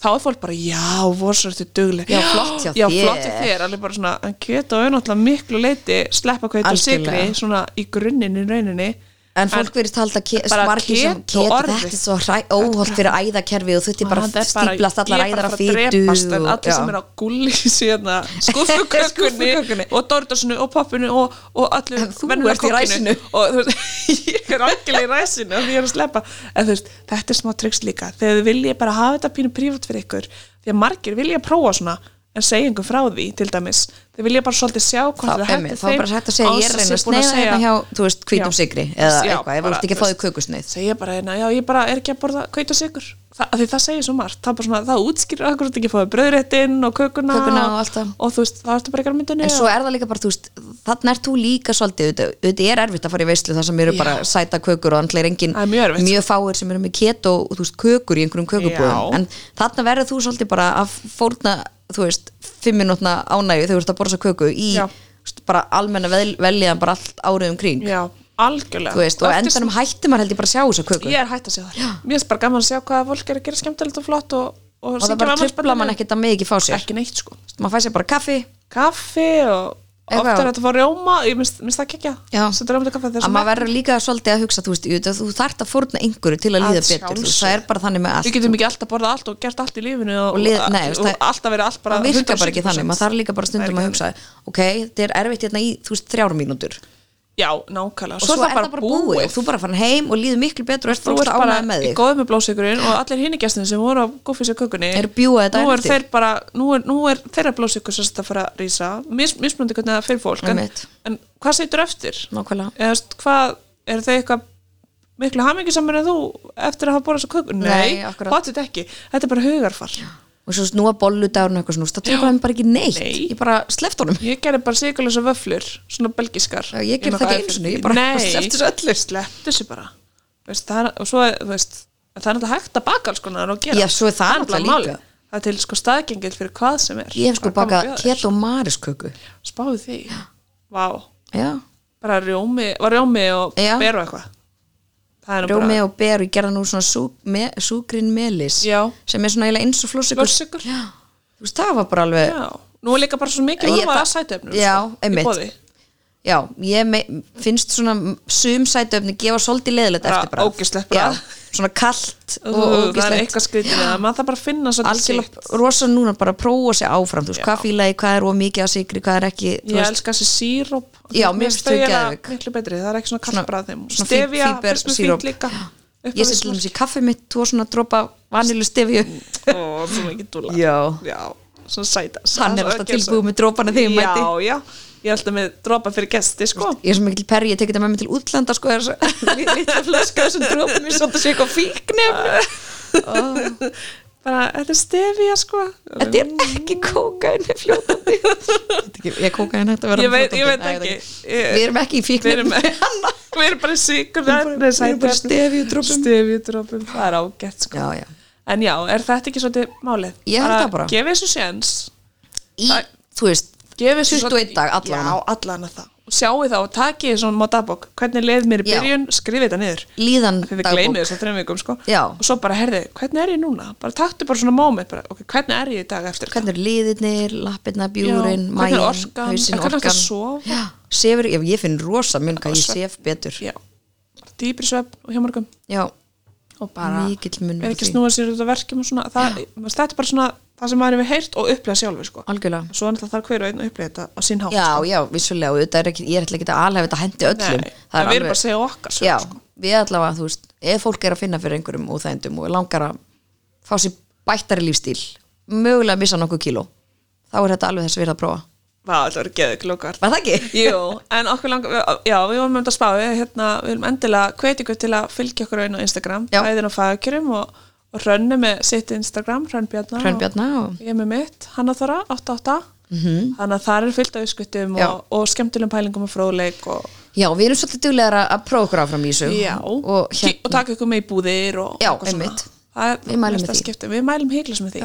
þá er fólk bara, já, vorsartu dugleg Já, flott hjá já, þér." flott hjá þér, alveg bara svona en kjöt og auðvitað miklu leiti sleppa kveit og sigri, Algjörlega. svona í grunninn í rauninni En fólk verðist halda ke- bara margir sem keto keto, orðið. þetta er svo óholt fyrir æðakerfi og þú ert bara Það er bara- stíplast allar ég er bara að æðar að fara að fytu drepast, en og- allir sem já. er á gulli síðan skuffukökunni Skúffukökunni. og dortasinu og poppinu og, og allir En þú venjulega ert í kokkinu. ræsinu. og þú veist, ég er algjörlega í ræsinu og því ég er að sleppa en þú veist, þetta er smá tryggs líka þegar þið viljið bara hafa þetta pínu prívat fyrir ykkur því að margir vilja prófa svona en segja einhver frá því, til dæmis þið vilja bara svolítið sjá Þá, hvort það emmi, hættu þá er bara hægt að segja ég er að reyna að sneiða hérna hjá, þú veist, hvítum Já. sigri eða Já, eitthvað, ef þú bara, ert ekki þú að fá því veist. kökusneið segja bara hérna, já ég bara er ekki að borða kveit og sigur, Þa, af því það segir svo margt það, er bara svona, það útskýrir okkur að ekki að fáið bröðréttin og kökuna, Kökuna og allt það. og þú veist, það ertu bara ekki að myndinu en svo er það líka bara, þú veist, þannig er þú líka svolítið, auðvitað- auðvitað er erfitt að fara í veislu þar sem eru bara sæta kökur og andlega er engin Það er mjög erfitt. fáir sem eru með keto og þú veist, kökur í einhverjum kökubúðum Já. en þannig verður þú svolítið bara að fórna þú veist, fimminútna ánægju þegar þú ert að borða þessa köku í Já. þú veist, bara almenna vel, veljaðan bara allt árið um kring já, algjörlega þú veist, og Eftir endanum hættir maður held ég bara að sjá þessa köku sem- ég er hætt að sjá það, mér finnst bara gaman að sjá hvað fólk er að gera skemmtilegt og flott og, og, og það bara trubla mann ekkert að mig ekki fá sér ekki neitt sko, maður fæ sér bara kaffi kaffi og Eitthvað. ofta er þetta að fá rjóma, ég minnst minnst það kekja Já. setur rjóma til kaffi, það er að svo maður verður líka svolítið að hugsa þú, veist, jú, þú þarft að fórna einhverju til að Að líða betur þú, veist, það sjálfsögðu. er bara þannig með við allt getum ekki alltaf borðað allt og gert allt í lífinu og, Og lið- nei, veist, og, það- alltaf verið allt bara það virkar bara ekki 170%. þannig, maður þarf líka Það bara er stundum ekki að hugsa ok, þetta er erfitt hérna í þú veist, þrjár mínútur og þannig. já, nákvæmlega, svo, er það bara búið, og þú bara fann heim og líður miklu betur og ert þú ert fólkst bara ánægð með í þig góð með blóðsíkurinn og allir hinni gestin sem voru á góðfísja kökunni Eru bjúgaði nú daginn er eftir. þeir bara, nú er, nú er þeirra blóðsíkur sem þetta fara að rýsa, Mis, mismunandi hvernig það er fyrir fólk, en, Einmitt. en hvað setur eftir? nákvæmlega, eða þú veist, hvað, er þau eitthvað miklu hamingisamur en þú eftir að hafa borðað þessu kökun? Nei, akkurat. pottet ekki, þetta er bara hugarfar og svo snúa bolludagurinn og eitthvað svona, þú veist, það tók hann bara ekki neitt Nei. ég bara sleft honum Ég gerði bara sigurlösa vöflur, svona belgiskar Já, ég gerði það ekki einu sinni, ég bara sleppti þessu öllu. Sleppti þessu bara veist, það, er- Og svo, er- þú veist, það er náttúrulega hægt að baka alls konar og gera Já, svo er það er náttúrulega bara líka. málið. Það er til sko staðgengil fyrir hvað sem er ég hef sko Bara koma bakað og bjóða þér. keto marisköku Spáðu því, vá já, Bara rjómi, var rjómi og Já. ber og eitthvað Það er nú rjómi bara og beru, ég gerða nú svona sú, me, súgrin melis Já. sem er svona eiginlega eins og flósikur Flórsykur. já, þú veist, það var bara alveg Já, nú er líka bara svo mikið Ég- vorum að það- sætaefnum Já, sko, í einmitt. boði. já, ég me, finnst svona sum sætöfni gefa svolítið leðilegt Bara eftir bara ógeslegt bragð. já, svona kalt Þú- og Það er ógislegt eitthvað skrítið við það, maður það bara að finna svolítið sitt. algjörlega rosa núna bara að prófa sig áfram þú veist, Já. hvað fílaði, hvað er ómikið að sigri, hvað er ekki þú Ég veist, elska þessi síróp Já, mér finnst þau geðveik. Miklu betri, það er ekki svona Svona- kallbrað þeim svona fí- Stefja, fíber finnst mér síróp. fínt líka ég seti til dæmis í kaffi mitt tvo svona dropa vanilu stefju Ó, svo mikið dúla Já. svona sæta Hann er alltaf tilbúið með dropana þegar ég Já, mæti. já, ég held að með dropa fyrir gesti, sko ég er svo mikil perri, ég tekið það með mig til útlanda sko, er svo litla flöska sem dropum mér svolítið sé eitthvað fíknefn Bara, þetta er stefja, sko þetta er ekki kókain er fljótandi Þetta er ekki- ég kókain hægt að vera Ég veit- ég fljótandi? veit Nei, ekki. Ég- við erum ekki í Við erum, fíknefn við erum bara sigur bara- við erum bara stefjudropum. Stefjudropum, það er ágætt, sko já, já. En já, er þetta ekki svolítið málið? Ég held það bara. Gefið þessu séns í, þú veist, Gefið þessu 21 dag, allavega. Já, allan að það Og sjáu það og takið þessu mátabók Hvernig leið mér í Já. byrjun, skrifið þetta niður líðan Þegar við gleymið dagbók þessu á þreim vikum, sko Já. Og svo bara, herði, hvernig er ég núna? Bara taktu bara svona moment bara, Ok, hvernig er ég í dag eftir hvernig er liðirnir, lappirna, bjúrin Já, hvernig mæin, er orkan, hausinn, en hvernig ertu að orkan sofa? Já, sefur, ég, ég finn rosa mun hvað ég Svefn. sef betur þetta? Já, dýpri svefn og hjá morgum já, Og bara, Mikill munur er ekki á því. snúið sér út af verkjum og svona það, Þetta er bara svona það sem maður hefur heyrt og upplega sjálfur, sko algjörlega Svo náttúrulega þarf hver og einn að upplega þetta á sinn hátt já, sko. já, vissulega, og auðvitað er ekki, ég ætla ekki að alhef þetta hendi öllum Nei, en við erum bara að segja okkar sögu, já, sko. við allavega, þú veist, ef fólk er að finna fyrir einhverjum óþægindum og langar að fá sér bættari lífstíl mögulega að missa nokkuð kíló þá er þetta alveg þess að vera að prófa Vá, þetta voru geðið klókar var það ekki? Jú, en okkur langar, já, við vorum um þetta að spá við, hérna, við erum endilega hvetingu til að fylgja okkur einn á Instagram, Já. bæðin á fagakjörum og, og Rönnu með sitt Instagram Rönn Bjarnar Hrönnbjarna og og ég með mitt, Hanna Þóra, 88 -hmm. þannig að það er fyllt af uskuttum Mhm. Já. og, og skemmtilegum pælingum og fróðleik og, Já, við erum svolítið duglegar að prófa okkur áfram í þessu já, og Ki- og hérna, taka ykkur með í búðir og, Já, og eitthvað svona. einmitt. það er Við mælum með mesta því. skipti, við mælum heiklis með því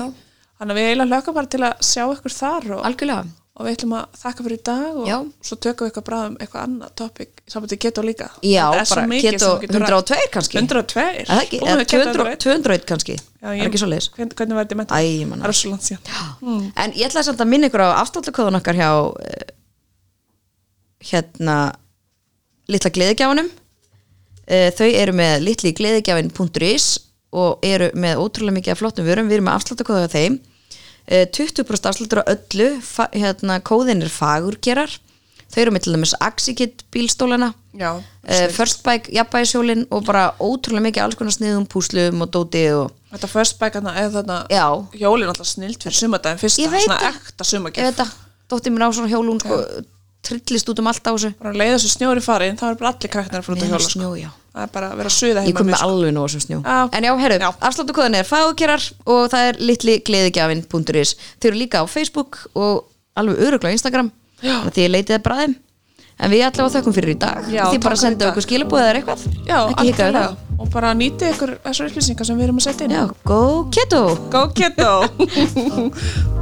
þannig að við eiginlega lögum bara til að sjá ykkur þar og, algjörlega og við ætlum að þakka fyrir í dag og Já. svo tökum við eitthvað bráðum eitthvað annað topic saman til keto líka Já, Það er svo bara mikið keto sem þú getur rætt. 102 kannski 102 Er það ekki, Búin að eða vera keto 200 201 kannski, Já, er ég- ekki svo leiðis hvern- hvernig var þetta í mentum? Æ, ég man það er svo langt síðan Mm. En ég ætlaði samt að minna ykkur á afstáttakóðun okkar hjá eh, hérna litla gleðigjáfanum Eh, þau eru með litli gleðigjafin.is og eru með ótrúlega mikið af flottum vörum, við erum með afsláttakóða á þeim Eh, 20% afsláttur á öllu fa- hérna, kóðin er fagurgerar þau eru með til dæmis Axikit bílstólana já, uh, First Bike, jafnbæðisjólin og bara ótrúlega mikið alls konar sniðum, púslum og dóti og þetta first bike þarna, eða þarna Já. jólin alltaf snilt fyrir sumardaginn fyrsta Ég veit svona það. ekta ég sumargjöf veit að dóttir mér á svona hjólun sko, trillist út um allt á þessu bara að leiða þessu snjóri farin, þá er bara allir krakknar að fara út að Nema hjóla sko. snjó, já. það er bara að vera að suða ég heima kom með, með sko. alveg nóg sem snjó Já. en já, herru, Já. afsláttu kóðan er fagurkerar og það er litli gleðigjafin.is þeir eru líka á Facebook og alveg öruglega á Instagram Já. Þannig að því ég leitið að bræðum en við allavega þökkum fyrir í dag Já, því bara takk fyrir í senda dag. okkur skilabúið eða eitthvað já, ekki hika við það algjörlega. og bara nýtið ykkur þessar upplýsingar sem við erum að setja inn já, go keto go keto